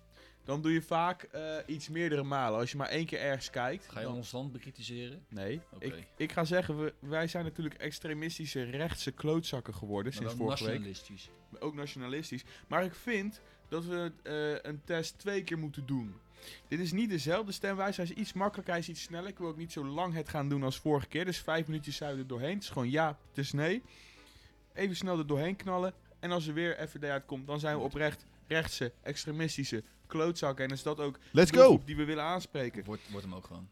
dan doe je vaak eh, iets meerdere malen. Als je maar één keer ergens kijkt.
Ga je
dan-
ons land bekritiseren?
Nee,
Oké.
ik, ik ga zeggen, we, wij zijn natuurlijk extremistische rechtse klootzakken geworden
Maar
sinds
wel
vorige week.
nationalistisch.
Ook nationalistisch. Maar ik vind dat we eh, een test twee keer moeten doen. Dit is niet dezelfde stemwijze, hij is iets makkelijker, hij is iets sneller. Ik wil ook niet zo lang het gaan doen als vorige keer. Dus vijf minuutjes zijn we er doorheen. Het is gewoon ja, het is nee. Even snel er doorheen knallen. En als er weer FVD uitkomt, dan zijn we oprecht rechtse, extremistische klootzakken. En is dat ook
Let's
de
go!
groep die we willen aanspreken.
Wordt, wordt hem ook gewoon.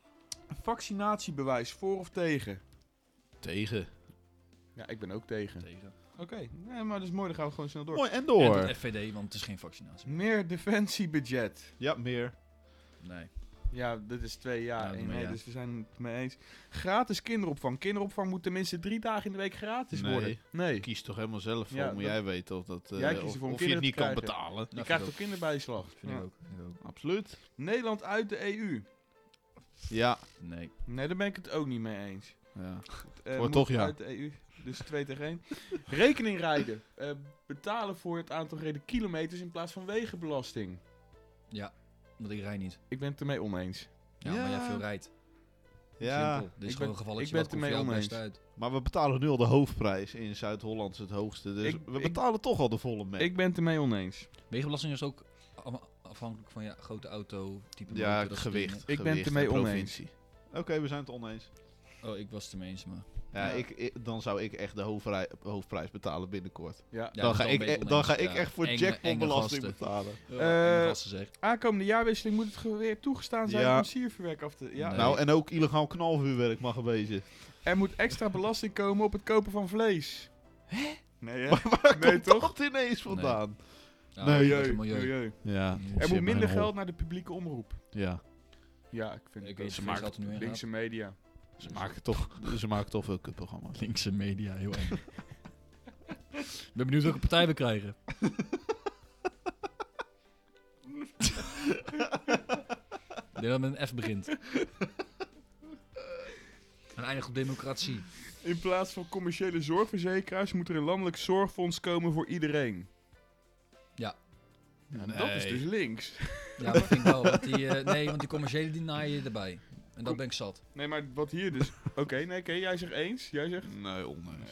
Vaccinatiebewijs, voor of tegen?
Tegen.
Ja, ik ben ook tegen.
Tegen.
Oké, nee, maar dat is mooi, dan gaan we gewoon snel door.
Mooi, en
En
door.
het FVD, want het is geen vaccinatie.
Meer defensiebudget.
Ja, meer.
Nee.
Ja, dit is twee jaar.
Ja,
één
maar
nee,
ja.
Dus we zijn het mee eens. Gratis kinderopvang. Kinderopvang moet tenminste drie dagen in de week gratis
Nee.
worden. Nee.
Kies toch helemaal zelf voor,
Ja,
moet
dat-
jij weten of, dat, eh,
Jij kiest
of,
ervoor om
of je het
kinderen
niet
te
kan
krijgen.
betalen.
Je
Nou, vind
krijgt
ik
toch kinderbijslag?
Vind
Ja.
ik ook. Vind ik ook.
Absoluut.
Nederland uit de EU.
Ja.
Nee.
Nee, daar ben ik het ook niet mee eens.
ja.
Eh,
Wordt
moet
toch ja.
Uit de EU. Dus 2 tegen 1. Rekening rijden. Eh, betalen voor het aantal gereden kilometers in plaats van wegenbelasting.
Ja, want ik rij niet.
Ik ben het ermee oneens.
Ja,
Ja.
maar jij veel rijdt.
Ja,
Simpel. Dit is
ik ben-
gewoon een gevalletje.
ik ben
wat
het ermee
komt voor jou het beste
oneens.
uit.
maar we betalen nu al de hoofdprijs in Zuid-Holland, is het hoogste. Dus
Ik-
we
ik-
betalen toch al de volle mee.
Ik ben het ermee oneens.
Wegenbelasting is ook allemaal- afhankelijk van je grote auto, type
Ja,
motor, dat soort
gewicht.
dingen.
dus Ik ben het
gewicht,
ermee
de
oneens.
provincie. Oké, we zijn het oneens.
Oh, ik was het ermee eens, maar...
Ja,
Ja.
Ik, ik- dan zou ik echt de hoofdrij- hoofdprijs betalen binnenkort.
Ja.
Ja,
dan
dat
ga,
is wel
ik,
een beetje
eh, dan ga
oneens,
ik
ja.
echt voor
Enge-
jackpotbelasting
enge gasten.
betalen.
Ja,
Eh,
vast gezegd.
Aankomende jaarwisseling moet het ge- weer toegestaan zijn
Ja.
om sierverwerk af te... Ja.
Nee.
Nou, en ook illegaal knalvuurwerk mag een beetje.
Er moet extra belasting komen op het kopen van vlees. Hè? Nee, hè?
Maar waar
Nee,
komt
toch?
dat ineens vandaan?
Ja,
nee,
dat is
Milieu,
een milieu.
milieu.
Ja.
Er
Er
shit,
moet
mijn
minder
hol.
geld naar de publieke omroep.
Ja,
Ja, ik vind
Ik
dat
weet
ze
niet wat er nu in
maken linkse media.
ze maken toch, ze maken toch veel kutprogramma's.
Linkse media, heel eng. Ik ben benieuwd welke partij we krijgen. Ik denk dat het met een F begint. En eindigt op democratie.
In plaats van commerciële zorgverzekeraars moet er een landelijk zorgfonds komen voor iedereen.
Ja.
Ja, Dat is
Nee.
dus links.
Ja, dat vind ik wel. Want die, eh, nee, want die commerciële die naaien je erbij. En dat ben ik zat.
Nee, maar wat hier dus... Oké, nee, oké, jij zegt eens. Jij zegt...
Nee, oneens.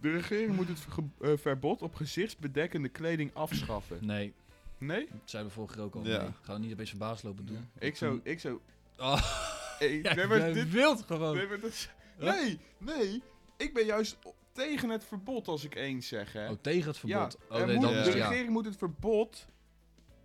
De regering moet het verge- eh, verbod op gezichtsbedekkende kleding afschaffen.
Nee,
Nee?
dat zijn we vorige keer ook al.
Ja.
Nee, ga er niet opeens verbaasd lopen doen.
Ik zou... Ik zou...
Oh,
eh, nee,
jij
maar dit,
wilt gewoon.
nee, maar dat is- nee, nee. Ik ben juist o- tegen het verbod als ik eens zeg, hè.
Oh, tegen het verbod.
Ja,
oh,
er
nee,
moet-
dan
eh,
is
de
het ja.
regering moet het verbod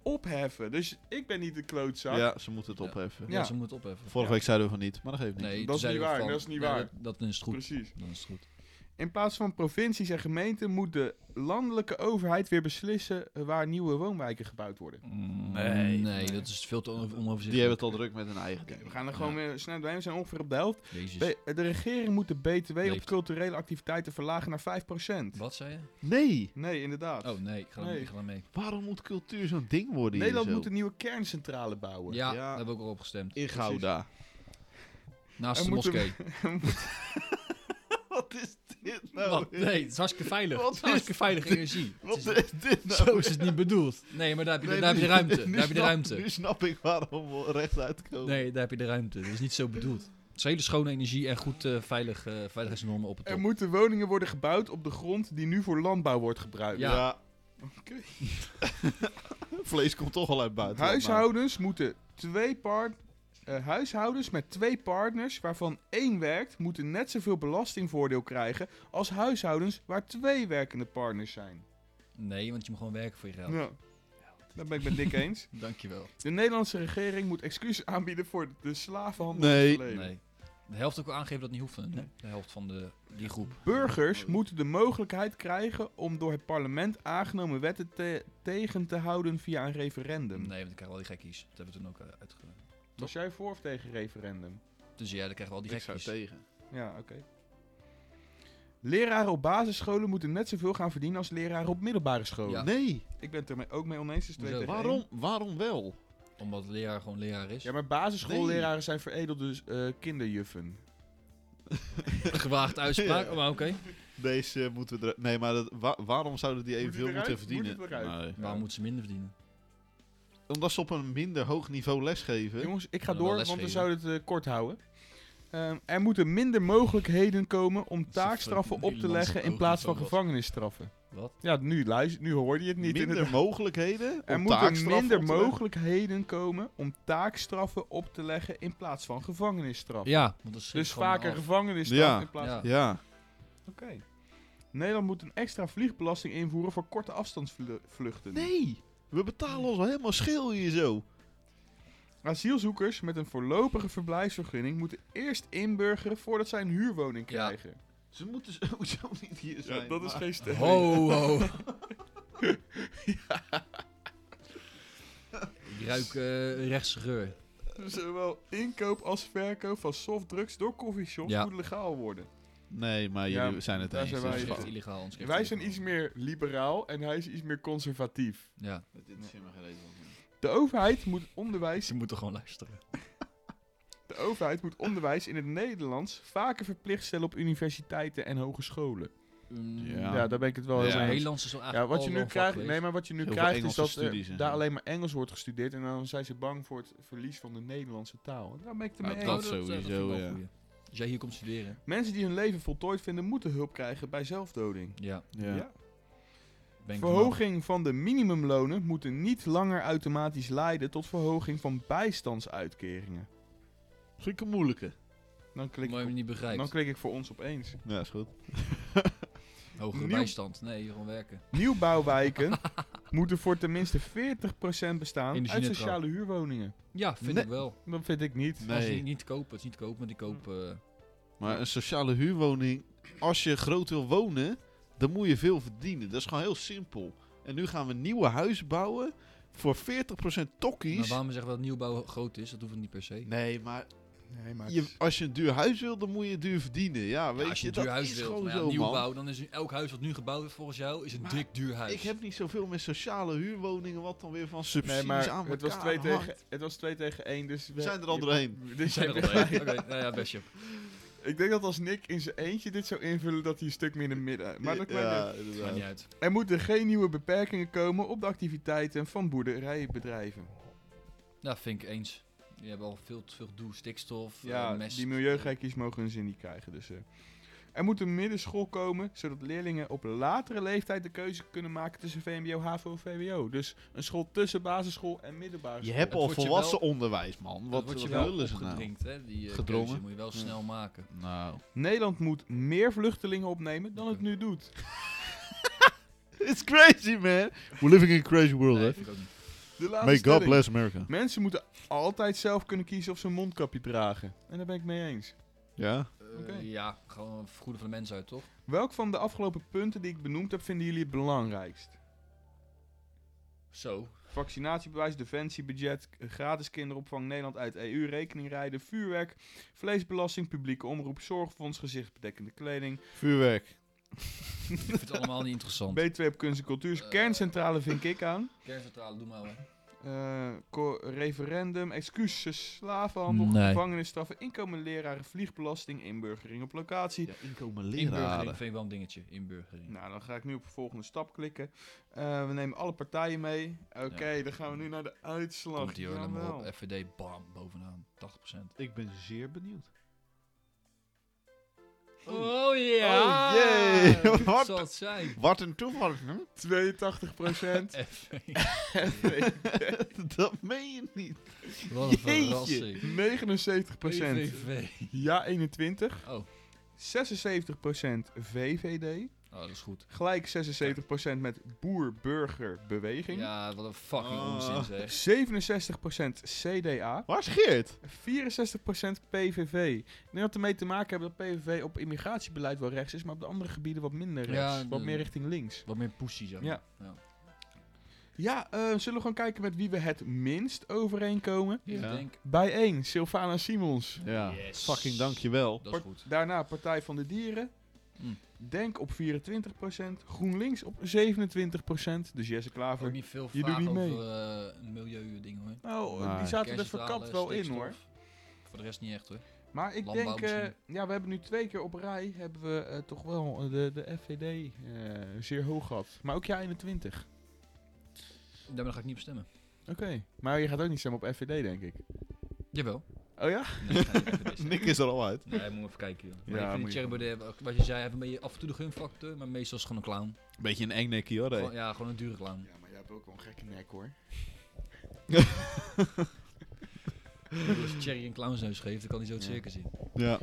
opheffen. Dus ik ben niet de klootzak.
Ja, ze moeten het opheffen.
Ja.
Ja, ze moeten opheffen.
Vorige week zeiden we van niet, maar dat geeft niet.
Nee,
is
toen zeiden
niet
we
waar,
van-
dat is niet
Ja,
waar.
dat- dat is het goed.
Precies.
Dan is het goed.
In plaats van provincies en gemeenten moet de landelijke overheid weer beslissen waar nieuwe woonwijken gebouwd worden.
Mm, nee,
nee.
dat is veel te ono-
Die hebben
onoverzichtelijk.
het al druk met hun eigen
Oké,
dingen.
we gaan er gewoon weer snel doorheen. We zijn ongeveer op de helft.
Jezus.
Be- de regering moet de BTW op
Leeft.
culturele activiteiten verlagen naar 5%.
Wat zei je?
Nee,
Nee, inderdaad.
Oh nee, ik ga,
Nee.
Ik ga mee.
waarom moet cultuur zo'n ding worden hier
Nederland
zo?
moet een nieuwe kerncentrale bouwen.
Ja,
Ja.
daar heb ik ook al op gestemd.
In Gouda.
Naast
Er
de
moet een-
moskee.
Wat is dit
Nou,
Wat? Nee, het is hartstikke veilig.
Wat
Het is hartstikke veilige energie.
Wat
Het is-
is dit nou?
Zo is het niet bedoeld. Nee, maar daar heb je,
Nee,
daar heb je
nu-
de ruimte.
nu
Daar heb je de
snap-
ruimte.
Nu snap ik waarom we rechtuit komen.
Nee, daar heb je de ruimte. Dat is niet zo bedoeld. Het is hele schone energie en goed eh, veilig, eh, veiligheidsnormen op het
Er
top.
moeten woningen worden gebouwd op de grond die nu voor landbouw wordt gebruikt.
Ja.
Oké.
Vlees komt toch al uit buiten.
Huishoudens moeten twee part... eh, huishoudens met twee partners waarvan één werkt, moeten net zoveel belastingvoordeel krijgen als huishoudens waar twee werkende partners zijn.
Nee, want je moet gewoon werken voor je geld.
Ja. Dat ben ik met Dick eens.
Dankjewel.
De Nederlandse regering moet excuses aanbieden voor de slavenhandel.
Nee.
in het verleden.
Nee. De helft ook aangeven dat het niet hoeft. van- De helft van de, die groep.
Burgers moeten de mogelijkheid krijgen om door het parlement aangenomen wetten te- tegen te houden via een referendum.
Nee, want ik krijg wel die gekkies. Dat hebben we toen ook eh, uitge...
Was jij voor of tegen referendum?
Dus ja, dan krijgen we al die
Ik zou
gekkies.
tegen.
Ja, oké. Leraren op basisscholen moeten net zoveel gaan verdienen als leraren op middelbare scholen.
Ja.
Nee,
Ik ben het er mee- ook mee oneens. Dus twee
Hoezo?
tegen
waarom,
één.
waarom wel?
Omdat de leraar gewoon leraar is.
Ja, maar basisschoolleraren zijn veredelde eh kinderjuffen.
Gewaagd uitspraak,
Ja.
maar oker
Deze moeten we er... Nee, maar dat, wa- waarom zouden die
Moet
evenveel
het
moeten
eruit? Moet
verdienen?
het eruit?
Nee.
Waarom moeten ze minder verdienen?
Omdat ze op een minder hoog niveau lesgeven.
Jongens, ik ga
Ja, wel
door,
les
want we
geven.
zouden het eh, kort houden. Ehm, er moeten minder mogelijkheden komen om
is een
taakstraffen op te
Nederlandse
leggen in
hoog
plaats van
niveau was.
gevangenisstraffen.
Wat?
Ja, nu, luister, nu hoorde je het niet.
minder
inderdaad.
mogelijkheden.
er
om
moeten
taakstraffen
minder
op te leggen.
mogelijkheden komen om taakstraffen op te leggen in plaats van gevangenisstraffen.
Ja, want dat
Dus vaker gevangenisstraf
Ja.
in plaats
Ja.
van...
Ja.
Oké. Nederland moet een extra vliegbelasting invoeren voor korte afstandsvluchten.
Nee, we betalen ons wel helemaal schil hier zo.
Asielzoekers met een voorlopige verblijfsvergunning moeten eerst inburgeren voordat zij een huurwoning
Ja.
krijgen.
Ze moeten sowieso niet hier zijn. maar-
geen
Ho, ho. Ik ruik eh rechtse geur.
Zowel inkoop als verkoop van softdrugs door coffeeshops
Ja.
moet legaal worden.
Nee, maar
Ja,
jullie zijn het
daar
eens.
zijn
Dat
wij
dus
is
het.
echt
fuck.
illegaal. anders krijg je
Wij
het
zijn iets
wel.
meer liberaal en hij is iets meer conservatief.
Ja.
De overheid moet onderwijs,
Ze moeten gewoon luisteren.
de overheid moet onderwijs in het Nederlands vaker verplicht stellen op universiteiten en hogescholen. Ja,
Ja.
daar ben ik het wel
Ja.
heel
Mm. ja.
mee eens.
Nederlands is wel
Ja,
eigenlijk
wat je
al
nu
wel een vak
krijgt,
geweest.
nee, maar wat je nu
Heel veel
krijgt is
Engelse
dat er
studies en
daar
zo.
alleen maar Engels wordt gestudeerd en dan zijn ze bang voor het verlies van de Nederlandse taal. En Daar ben ik het
Nou,
mee eens.
dat
eh, vind ik
sowieso,
wel
ja.
goeie. Als jij hier komt studeren.
Mensen die hun leven voltooid vinden moeten hulp krijgen bij zelfdoding.
Ja.
Ja.
Ben ik
Verhoging van de minimumlonen moeten niet langer automatisch leiden tot verhoging van bijstandsuitkeringen.
Schikke moeilijke.
Dan
vanaf-
klik,
Mooi
ik,
niet
op- dan
begrijpt.
klik ik voor ons opeens.
Ja, is goed.
Hogere
nieuw-
bijstand. Nee, gewoon werken.
Nieuwbouwwijken moeten voor tenminste 40% bestaan uit
Energie-neutraal.
sociale huurwoningen.
Ja, vind
Nee.
ik wel.
Dat vind ik niet.
Als
Nee.
die niet te kopen, het is niet te kopen, maar die eh, kopen...
Maar een sociale huurwoning, als je groot wil wonen, dan moet je veel verdienen. Dat is gewoon heel simpel. En nu gaan we nieuwe huizen bouwen voor 40%
maar
tokkies.
waarom zeggen we dat nieuwbouw groot is? Dat hoeft niet per se.
Nou, Nee, maar
Nee, maar
je, als je een duur huis wil, dan moet je duur verdienen. Ja, weet
Ja, als je,
je,
een duur
dat
huis
is
wilt,
gewoon
maar ja,
zo,
nieuwbouw,
man.
dan is nu elk huis wat nu gebouwd wordt volgens jou is een
Maar
dik duur huis.
Ik heb niet zoveel met sociale huurwoningen, wat dan weer van subsidies
Nee, maar
aan
het was,
elkaar
twee
hangt.
tegen, het was 2 tegen 1, dus...
We
we-
zijn er al doorheen.
Dus
Zijn
ik-
er al een? Oké, nou ja, best je.
Ik denk dat als Nick in zijn eentje dit zou invullen, dat hij een stuk minder midden... Maar dat maakt niet uit.
ja, inderdaad.
Maakt niet uit.
Er moeten geen nieuwe beperkingen komen op de activiteiten van boerderijbedrijven.
Ja, Nou, vind ik eens. Je hebt al veel te veel gedoe, stikstof,
Ja,
eh, mest.
die milieugekkies mogen hun zin niet krijgen. Dus, eh. Er moet een middenschool komen, zodat leerlingen op latere leeftijd de keuze kunnen maken tussen VMBO, HAVO en VWO. Dus een school tussen basisschool en middelbare
Je
school.
hebt
Dat
al
wordt je
volwassen onderwijs, man.
Wat
Wat,
wordt je
wat
wel
willen ze nou?
opgedrinkt, hè? Die eh,
Gedrongen.
keuze moet je wel
Ja.
snel maken.
Nou,
Nederland moet meer vluchtelingen opnemen dan het nu doet.
it's crazy, man. We're living in a crazy world,
Nee,
hè?
vind ik ook niet.
De laatste
May God
stelling.
bless America.
Mensen moeten altijd zelf kunnen kiezen of ze een mondkapje dragen. En daar ben ik mee eens.
Ja.
Eh,
Oké.
Ja, gewoon het goede van de mens uit, toch?
Welk van de afgelopen punten die ik benoemd heb, vinden jullie het belangrijkst?
Zo.
Vaccinatiebewijs, defensiebudget, gratis kinderopvang Nederland uit EU, rekening rijden, vuurwerk, vleesbelasting, publieke omroep, zorgfonds, gezichtsbedekkende kleding,
Vuurwerk.
Ik vind het allemaal niet interessant.
B2 op kunst en cultuur,
Eh.
kerncentrale vind ik aan,
Kerncentrale, doe maar. hoor.
Eh, co- referendum, excuses, slavenhandel,
Nee.
gevangenisstraffen, inkomen leraren, vliegbelasting, inburgering op locatie.
Ja, inkomen
Inburgering
leraren.
vind ik wel een dingetje. Inburgering.
Nou, dan ga ik nu op de volgende stap klikken. Eh, we nemen alle partijen mee. Oké, dan gaan we nu naar de uitslag.
Komt die hoor,
nou
noem maar
Jawel.
op. FVD, bam, bovenaan. 80%.
Ik ben zeer benieuwd.
Oh
Oh, jee.
Wat
Wat?
zal het zijn?
Wat een toeval, hè?
82 procent.
dat meen je niet.
Wat
Jeetje.
een verrassing.
79 procent.
PVV.
Ja 21.
Oh. oh,
76% VVD.
dat is goed.
Gelijk 76% met boer-burger-beweging.
Ja, wat een fucking
Oh.
onzin zeg.
67% CDA.
Waar is Geert?
64% PVV. Ik denk dat ermee te maken hebben dat PVV op immigratiebeleid wel rechts is, maar op de andere gebieden wat minder rechts.
Ja,
wat
de-
meer richting links.
Wat meer poesie zeg maar.
Ja.
ja.
Ja, eh, zullen we gaan kijken met wie we het minst overeenkomen?
Ik
Ja.
denk,
Bij 1, Sylvana Simons.
Ja,
Yes.
fucking dankjewel.
dat is
Part-
goed.
Daarna Partij van de Dieren.
Hm.
Denk op 24%. GroenLinks op 27%. Dus Jesse Klaver.
Ook niet veel
Je doet
vragen
niet mee.
over eh, milieudingen hoor.
Nou,
Maar-
die zaten er
Kerncentrale,
verkapt wel in hoor.
stikstof. Voor de rest niet echt hoor.
Maar ik
Landbouw
denk, eh,
misschien.
ja, we hebben nu twee keer op rij, hebben we eh, toch wel eh, de, de FVD eh, zeer hoog gehad. Maar ook ja 21.
Daarmee ga ik niet bestemmen.
Oké, maar je gaat ook niet stemmen op FVD denk ik.
Jawel.
Oh ja?
Nee, ik ga niet FVD stemmen.
Nick is er al uit.
Nee, moet maar even kijken joh. Maar
Ja,
ik
moet
vind
je
Thierry Baudet, wat je zei, hij heeft een beetje af en toe de gunfactor, maar meestal is het gewoon een clown.
Beetje een eng nekkie hoor,
Gewoon- ja, gewoon een dure clown.
Ja, maar jij hebt ook wel een gekke nek hoor.
Ik bedoel, Als Thierry een clownsneus geeft, dan kan hij zo het
Ja.
circus in.
Ja.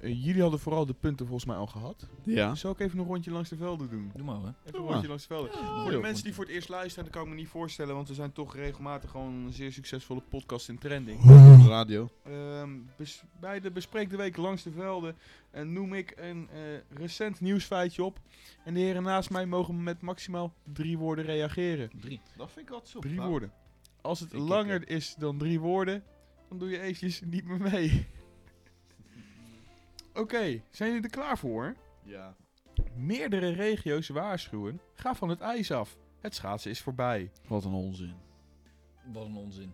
Eh, jullie hadden vooral de punten volgens mij al gehad.
Ja.
Zal ik even een rondje langs de velden doen?
Doe maar hoor.
Even een
maar.
rondje langs de velden. Voor de
joh.
mensen die voor het eerst luisteren, dat kan ik me niet voorstellen, want we zijn toch regelmatig gewoon een zeer succesvolle podcast in trending.
Radio.
Ehm, bes- bij de Bespreek de Week langs de velden eh, noem ik een eh, recent nieuwsfeitje op. En de heren naast mij mogen met maximaal drie woorden reageren.
Drie.
Dat vind ik altijd zo
Drie woorden. Als het
Ik- ik-
langer is dan drie woorden, dan doe je eventjes niet meer mee. Oké, zijn jullie er klaar voor?
Ja.
Meerdere regio's waarschuwen. Ga van het ijs af. Het schaatsen is voorbij.
Wat een onzin.
Wat een onzin.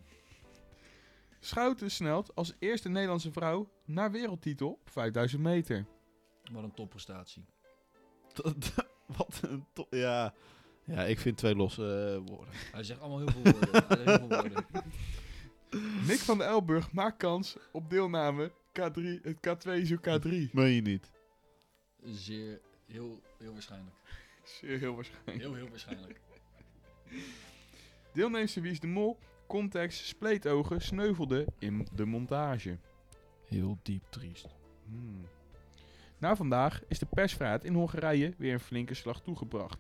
Schouten snelt als eerste Nederlandse vrouw naar wereldtitel op 5000 meter.
Wat een topprestatie.
Wat een to- Ja. Ja, ik vind twee losse eh, woorden.
Hij zegt allemaal heel veel woorden. Hij zegt heel veel woorden.
Nick van de Elburg maakt kans op deelname K3, het K2 zoek K3.
Meen je niet?
Zeer, heel, heel waarschijnlijk.
Zeer heel waarschijnlijk.
Heel, heel waarschijnlijk.
Deelnemster Wie is de Mol, context, spleetogen, sneuvelde in de montage.
Heel diep triest.
Hmm. Na vandaag is de persvrijheid in Hongarije weer een flinke slag toegebracht.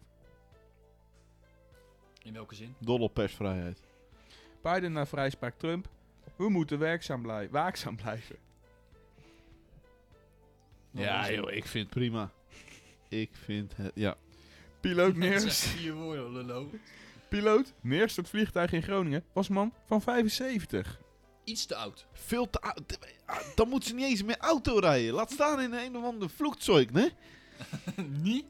In welke zin?
Dol op persvrijheid.
Biden na vrijspraak Trump. We moeten werkzaam blij waakzaam blijven.
Ja, joh, ik vind het prima. Ik vind het, ja.
Piloot
Dat zijn
neerst,
vier woorden, lullo.
piloot neerst het vliegtuig in Groningen was man van 75.
Iets te oud.
Veel te oud. Dan moet ze niet eens meer auto rijden. Laat staan in een of ander vloekzeug, hè?
Niet?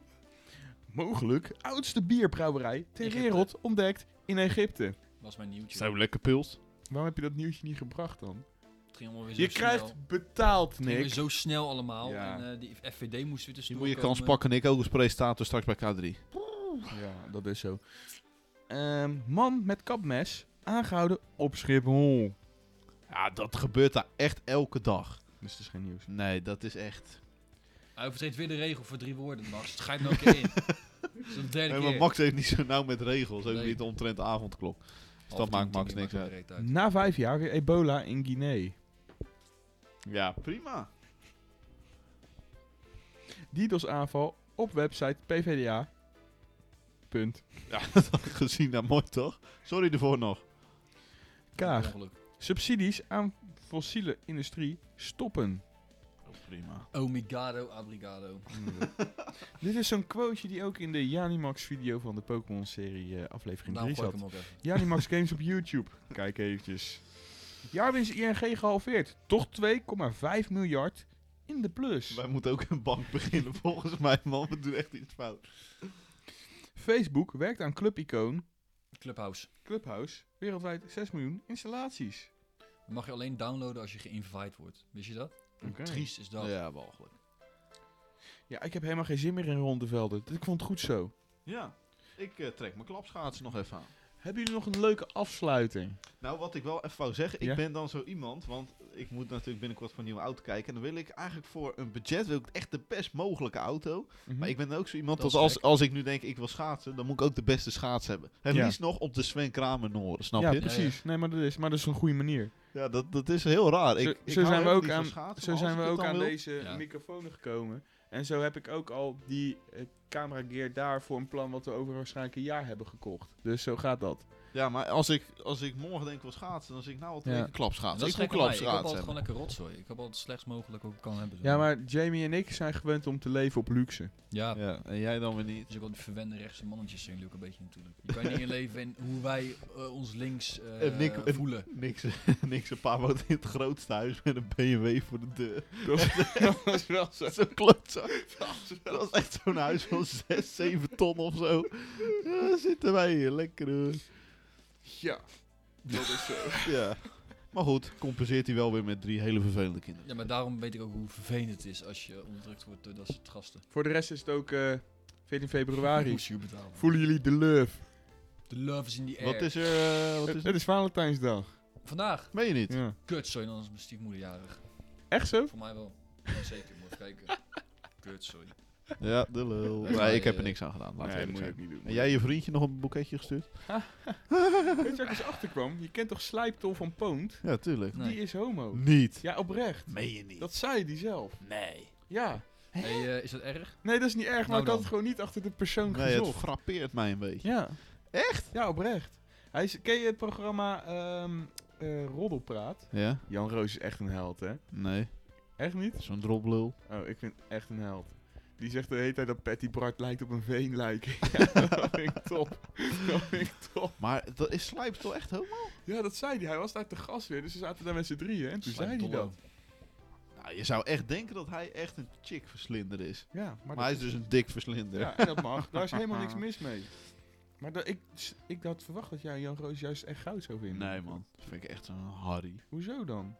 Mogelijk oudste bierbrouwerij ter
Egypte.
wereld ontdekt in Egypte.
Was mijn nieuwtje.
Zijn we lekker pils?
Waarom heb je dat nieuwtje niet gebracht dan?
Het ging allemaal weer zo
Je
snel.
krijgt betaald,
Het ging weer
Nick.
zo snel allemaal.
Ja.
En eh, die FVD moest
Je
weer tussendoor
moet je
komen.
kans pakken. Ik ook een presentator straks bij K3.
Ja, dat is zo. Ehm, man met kapmes aangehouden op Schiphol.
Ja, dat gebeurt daar echt elke dag.
Dus dat is geen nieuws.
Nee, dat is echt...
Hij overtreedt weer de regel voor drie woorden, Max. Het schijnt nou een keer in. Dat is de derde
Nee,
keer.
maar Max heeft niet zo nauw met regels. Ook
Nee.
niet omtrent de avondklok.
Half
dat maakt
tien, tien
Max
uur
niks
maakt
uit.
het direct
Na vijf jaar weer ebola in Guinea.
Ja, prima.
DDoS-aanval op website PVDA. Punt.
Ja, dat had ik gezien. Nou, mooi toch? Sorry ervoor nog.
Kaag.
Ongeluk.
Subsidies aan fossiele industrie stoppen.
prima.
Omigado, abrigado.
Dit is zo'n quoteje die ook in de Janimax video van de Pokémon serie eh, aflevering
Daarom
3
Nou, gooi
zat.
ik hem ook even.
Janimax Games op YouTube. Kijk eventjes. Jaarwinst ING gehalveerd. Toch 2,5 miljard in de plus.
Wij moeten ook een bank beginnen volgens mij, man. We doen echt iets fout.
Facebook werkt aan clubicoon
Clubhouse.
Clubhouse. Wereldwijd 6 miljoen installaties.
Dat mag je alleen downloaden als je geïnviteerd wordt. Wist je dat?
Oké.
Triest is dat.
Mm. Ja, walgelijk.
Ja, ik heb helemaal geen zin meer in rondevelden. Ik vond het goed zo.
Ja, ik eh, trek mijn klapschaatsen nog even aan.
Hebben jullie nog een leuke afsluiting?
Nou, wat ik wel even wou zeggen, ik
Ja?
ben dan zo iemand, want ik moet natuurlijk binnenkort voor een nieuwe auto kijken. En dan wil ik eigenlijk voor een budget wil ik echt de best mogelijke auto.
Hm?
Maar ik ben ook zo iemand
Dat
dat,
is
als,
gek.
als ik nu denk ik wil schaatsen, dan moet ik ook de beste schaats hebben. En
Ja.
liefst nog op de Sven Kramer Noren, snap
ja,
je?
precies. Nee, maar dat is, maar dat is een goede manier.
Ja, dat, dat is heel raar. Ik,
Zo-
ik
zo
hou
zijn we
heel
ook
niet van
aan-
schaatsen,
Zo
maar
zijn we
als ik
ook
het
aan
dan wil-
deze
Ja.
microfoon gekomen. En zo heb ik ook al die eh, camera gear daar voor een plan wat we over waarschijnlijk een jaar hebben gekocht. Dus zo gaat dat.
Ja, maar als ik, als ik morgen denk ik wil schaatsen, dan zeg ik nou altijd
Ja.
een klapschaatsen.
dat
Ik wil
gek aan mij. Ik heb
klapschaatsen
altijd
hebben.
gewoon lekker rotzooi. Ik heb altijd het slechts mogelijk ook kan hebben.
Ja, maar Jamie en ik zijn gewend om te leven op luxe.
Ja,
Ja, en jij dan weer niet.
Dus ook al die verwende rechtse mannetjes zijn natuurlijk een beetje natuurlijk. Je kan niet in leven in hoe wij eh, ons links eh,
En Nick- en-
voelen.
Niks, niks, een paar woont in het grootste huis met een BMW voor de deur.
dat was wel zo.
Zo'n klootzak. Dat was echt zo'n huis van 6, 7 ton of zo. Ja, zitten wij hier lekker. eh.
Ja, dat is zo.
Ja. Maar goed, compenseert hij wel weer met drie hele vervelende kinderen.
Ja, maar daarom weet ik ook hoe vervelend het is als je onderdrukt wordt door dat soort gasten.
Voor de rest is het ook eh, 14
Je
Oh,
februari.
Moest je betalen.
Voelen jullie de love?
The love is in the air.
Wat is er? eh, wat
Het,
is
het is Valentijnsdag.
Vandaag.
Meen je niet?
Ja.
Kut, sorry, dan is mijn stiefmoeder jarig.
Echt zo?
Voor mij wel. Ja, zeker, moet even kijken. Kut, sorry.
Ja, de lul.
Nee,
Nee, ik heb
eh,
er niks aan gedaan. Laat
Nee,
het eerlijk
moet je
zijn.
ook niet doen.
En jij je vriendje nog een boeketje gestuurd?
Weet je waar ik eens achterkwam? Je kent toch Slijptol van Poont?
Ja, tuurlijk.
Nee.
Die is homo.
Nou, Niet.
Ja, oprecht.
Meen je niet?
Dat zei die zelf.
Nee.
Ja.
Hey, eh, is dat erg?
Nee, dat is niet erg, maar
Nou
ik had
dan.
het gewoon niet achter de persoon
Nee, het
gezocht.
frappeert mij een beetje.
Ja. Echt? Ja, oprecht. Hij is, ken je het programma ehm eh, Roddelpraat?
Ja?
Jan Roos is echt een held, hè?
Nee.
Echt niet?
Zo'n droplul.
Oh, ik vind het echt een held. Die zegt de hele tijd dat Patty Bart lijkt op een veenlijk. dat vind ik top. Dat vind ik top.
Maar dat is Slijpstel toch echt homo?
Ja, dat zei hij. Hij was daar te gast weer, dus ze zaten daar met z'n drieën. En toen zei hij dat.
Nou, je zou echt denken dat hij echt een chick verslinder is.
Ja, maar,
Maar,
dat
hij is dus een dik verslinder.
Ja, en dat mag. Daar is helemaal niks mis mee. Maar dat, ik, ik had verwacht dat jij Jan Roos juist echt goud zou vinden.
Nee, man. Dat vind ik echt een Harry.
Hoezo dan?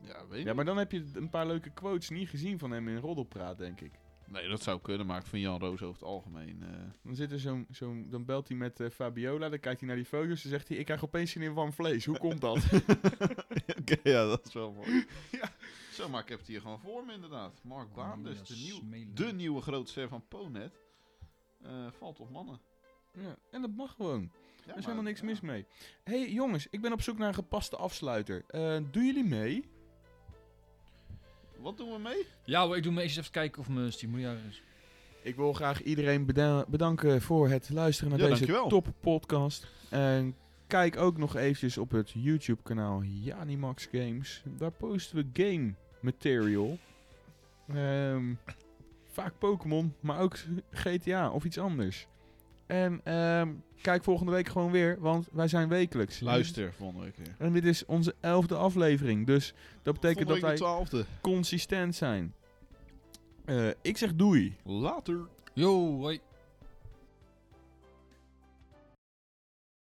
Ja, weet
Ja, maar dan heb je een paar leuke quotes niet gezien van hem in Roddelpraat, denk ik.
Nee, dat zou kunnen, maar ik vind Jan Roos over het algemeen... eh,
Dan, zit er zo'n, zo'n, dan belt hij met eh, Fabiola, dan kijkt hij naar die foto's en zegt hij... Ik krijg opeens zin in warm vlees, hoe komt dat?
Oké, ja, dat is wel mooi. Zo, maar ik heb het
Oh,
hier gewoon voor me inderdaad. Mark Baam, dus de, nieuw, de nieuwe grootster van Ponet. eh, valt op mannen.
Ja, en dat mag gewoon.
Ja,
Er
maar-
is helemaal niks
ja.
mis mee. hey, jongens, ik ben op zoek naar een gepaste afsluiter. Eh, doen jullie mee?
Wat doen we mee?
Ja hoor, ik doe me eens even kijken of mijn stimulator is.
Ik wil graag iedereen beda- bedanken voor het luisteren naar
Ja,
deze
dankjewel.
top podcast. En kijk ook nog eventjes op het YouTube kanaal Janimax Games. Daar posten we game material. Ehm, vaak Pokémon, maar ook GTA of iets anders. En ehm, kijk volgende week gewoon weer, want wij zijn wekelijks.
Luister volgende week weer.
En dit is onze elfde aflevering, dus dat betekent
volgende
dat wij
week de twaalfde.
consistent zijn. Eh, ik zeg doei.
Later.
Yo, hoi.